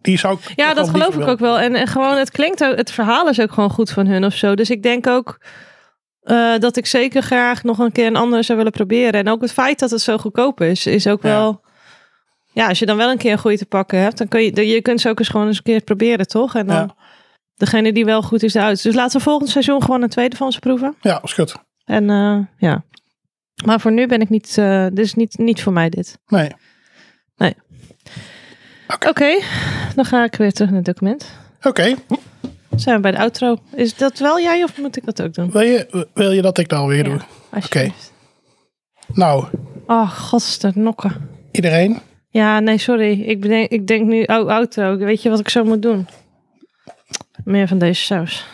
die zou ik...
ja
toch
dat
wel
geloof
liever
ik
willen.
ook wel. En, en gewoon, het klinkt ook, het verhaal is ook gewoon goed van hun of zo. Dus ik denk ook eh, dat ik zeker graag nog een keer een andere zou willen proberen. En ook het feit dat het zo goedkoop is, is ook
Ja.
wel. Ja, als je dan wel een keer een goeie te pakken hebt, dan kun je, de- je kunt ze ook eens gewoon eens een keer proberen, toch? En dan
Ja.
degene die wel goed is, eruit. Dus laten we volgend seizoen gewoon een tweede van ze proeven.
Ja, is goed.
En eh, ja. Maar voor nu ben ik niet, eh, dit is niet, niet voor mij dit.
Nee.
Oké, dan ga ik weer terug naar het document.
Oké,
Dan zijn we bij de outro. Is dat wel jij of moet ik dat ook doen?
wil, je, wil je dat ik dat alweer
Ja.
doe?
Alsjeblieft.
Nou,
Oh, godster, nokken.
iedereen,
Ja, nee, sorry. Ik, bedenk, ik denk nu, oh, auto. Weet je wat ik zo moet doen? Meer van deze saus.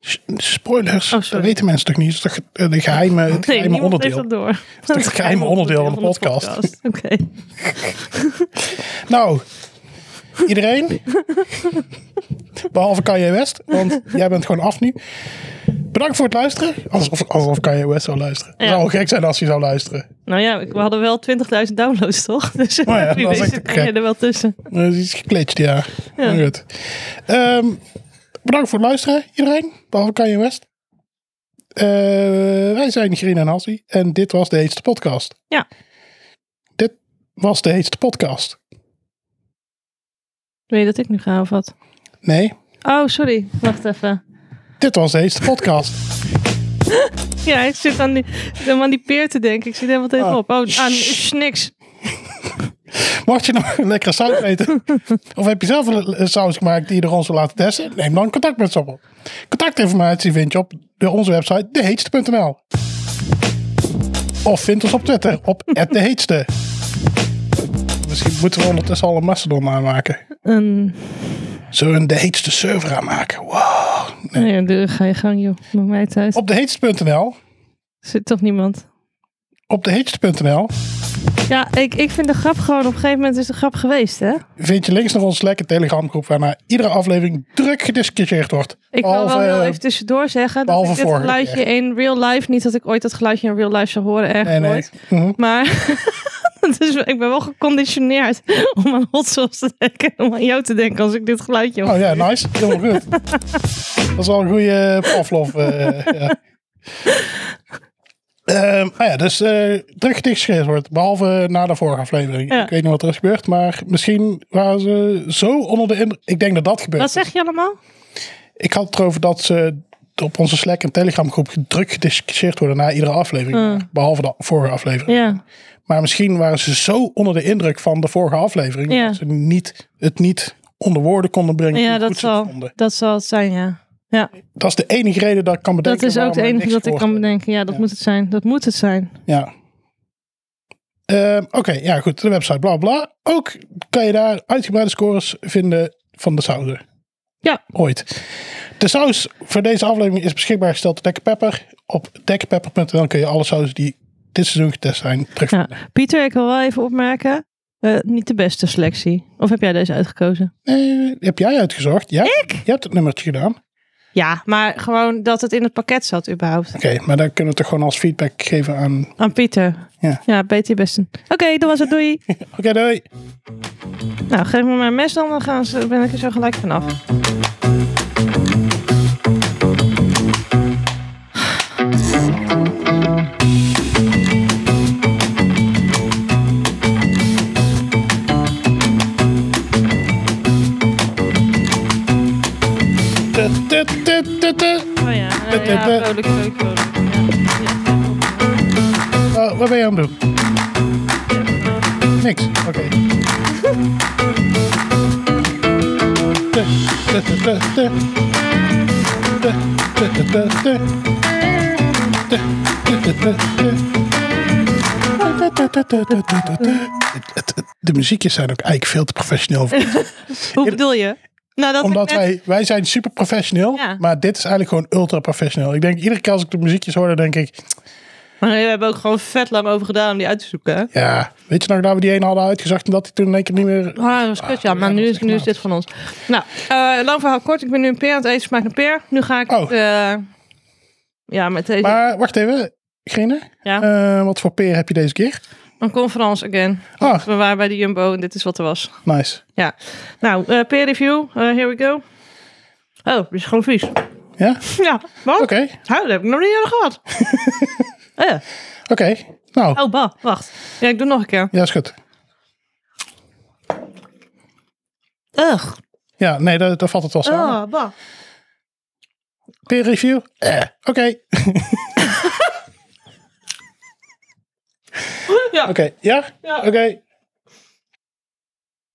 S- Spoilers,
Oh,
dat
sorry.
weten mensen toch niet? Dat is toch eh, de geheime, het
Nee,
geheime
niemand heeft
onderdeel.
dat door.
Dat is het geheime onderdeel van de podcast.
Oké.
Nou, iedereen. Behalve Kanye West, want jij bent gewoon af nu. Bedankt voor het luisteren. Alsof, alsof Kanye West zou luisteren. Het
Ja.
zou wel gek zijn als hij zou luisteren.
Nou ja, we hadden wel 20.000 downloads, toch? Dus
Oh ja,
ja,
dat
wie
was
weet
echt
zit
gek.
je er wel tussen.
Er is iets geklitst, ja.
Ja.
Maar Goed. Ehm, bedankt voor het luisteren, iedereen. Behalve Kanye West. Eh, wij zijn Green en Hassie. En dit was de heetste podcast.
Ja.
Dit was de heetste podcast.
Weet je dat ik nu ga of wat?
Nee,
Oh, sorry. Wacht even.
dit was de heetste podcast.
Ja, ik zit aan die, helemaal aan die peer te denken. Ik zit helemaal tegenop.
Ah,
Oh, aan niks.
Mocht je nog een lekkere saus weten, of heb je zelf een eh, saus gemaakt die je door ons wil laten testen, neem dan contact met ons op. Contactinformatie vind je op de- onze website deheetste.nl. Of vind ons op Twitter op @deheetste. Misschien moeten we ondertussen al een Mastodon aanmaken.
Een,
Zullen we een De Heetste server aanmaken? Wow. Nee.
nee, doe- ga je gang, joh. Maakt mij het uit.
Op deheetste.nl,
Zit toch niemand?
op deheetste.nl
Ja, ik, ik vind de grap gewoon op een gegeven moment is de grap geweest, hè?
vind je links naar onze lekkere telegramgroep waarna iedere aflevering druk gediscussieerd wordt.
Ik kan
Behalve,
wel heel
eh,
even tussendoor zeggen dat
behalve
ik dit
vorige
geluidje
keer.
in real life, niet dat ik ooit dat geluidje in real life zou horen erg
Nee, nee.
ooit,
Mhm.
maar dus ik ben wel geconditioneerd om aan hot sauce te denken, en om aan jou te denken als ik dit geluidje hoor.
Oh ja, nice. Helemaal goed. Dat is wel een goede Pavlov. eh ja. Ehm, nou ja, dus eh druk gedichtsgeschreven wordt. Behalve na de vorige aflevering.
Ja.
Ik weet niet wat er is gebeurd, maar misschien waren ze zo onder de indruk. Ik denk dat dat gebeurt.
Wat zeg je allemaal?
Ik had het erover dat ze op onze Slack en Telegram groep druk gediscussieerd worden na iedere aflevering.
Hmm.
Behalve de vorige aflevering.
Ja,
Maar misschien waren ze zo onder de indruk van de vorige aflevering.
Ja.
Dat ze niet, het niet onder woorden konden brengen.
ja
hoe
dat,
goed ze het
zal,
vonden.
dat zal het zijn, ja. ja.
Dat is de enige reden dat ik kan bedenken.
Dat is ook
waarom
de
er eh,
enige
niks
dat ik kan
wordt.
bedenken. Ja, dat
Ja.
moet het zijn. Dat moet het zijn.
Ja. Ehm, Oké, ja goed. De website, bla bla. Ook kan je daar uitgebreide scores vinden van de sauzen.
Ja.
Ooit. De saus voor deze aflevering is beschikbaar gesteld door Dekker Pepper. Op dekkerpepper.nl kun je alle sauzen die dit seizoen getest zijn terug.
Ja. Pieter, ik wil wel even opmerken. eh, niet de beste selectie. Of heb jij deze uitgekozen?
Nee, heb jij uitgezocht? Ja. Ik? Je hebt het nummertje gedaan. Oké,
Ja, maar gewoon dat het in het pakket zat überhaupt.
maar dan kunnen we toch gewoon als feedback geven aan...
Aan Pieter.
Ja.
Ja, BT besten. Oké, dat was het. Doei.
Oké, doei.
nou, geef me mijn mes dan. Dan gaan ze, ben ik er zo gelijk vanaf.
Tut, tut, tut, tut, tut.
Oh ja,
eh, ja, vrolijk,
vrolijk, vrolijk,
Eh, wat ben je aan het doen? Niks. Oké. Te, te, te, te, te. Te, te, te, te, te. Te, te, te, te, te. Te, te, te, te, te, te, te. Het- het- het- De muziekjes zijn ook eigenlijk veel te professioneel. voor ons.
Hoe bedoel je? Nou, dat
Omdat
ik net-
wij, wij zijn super professioneel,
Ja.
maar dit is eigenlijk gewoon ultra professioneel. Ik denk, iedere keer als ik de muziekjes hoor, dan denk ik,
Maar we hebben ook gewoon vet lang over gedaan om die uit te zoeken. hè?
ja, weet je nog dat we die ene hadden uitgezocht en dat die toen in één keer niet meer
Ah, dat was kut, ja. Maar
ja,
nu,
dat
is,
is
nu is dit van ons. Nou, eh, lang verhaal kort. Ik ben nu een peer aan het eten. Smaakt een peer. Nu ga ik...
Oh.
eh, ja, met deze...
Maar wacht even, Grine.
ja,
Eh, wat voor peer heb je deze keer?
een conference again.
Ah,
We waren bij de Jumbo en dit is wat er was.
nice.
Ja. Nou, eh, peer review. Eh, here we go. Oh, dit is gewoon vies.
Ja?
Ja, wat?
Oké,
Nou, dat heb ik nog niet eerder gehad. oh, ja.
oké. Nou,
oh, bah, wacht. Ja, ik doe nog een keer.
ja, is goed.
Ugh.
Ja, nee, daar, daar valt het wel samen.
Oh, bah.
Peer review? Eh, oké.
Ja.
Oké, ja?
Ja.
Oké.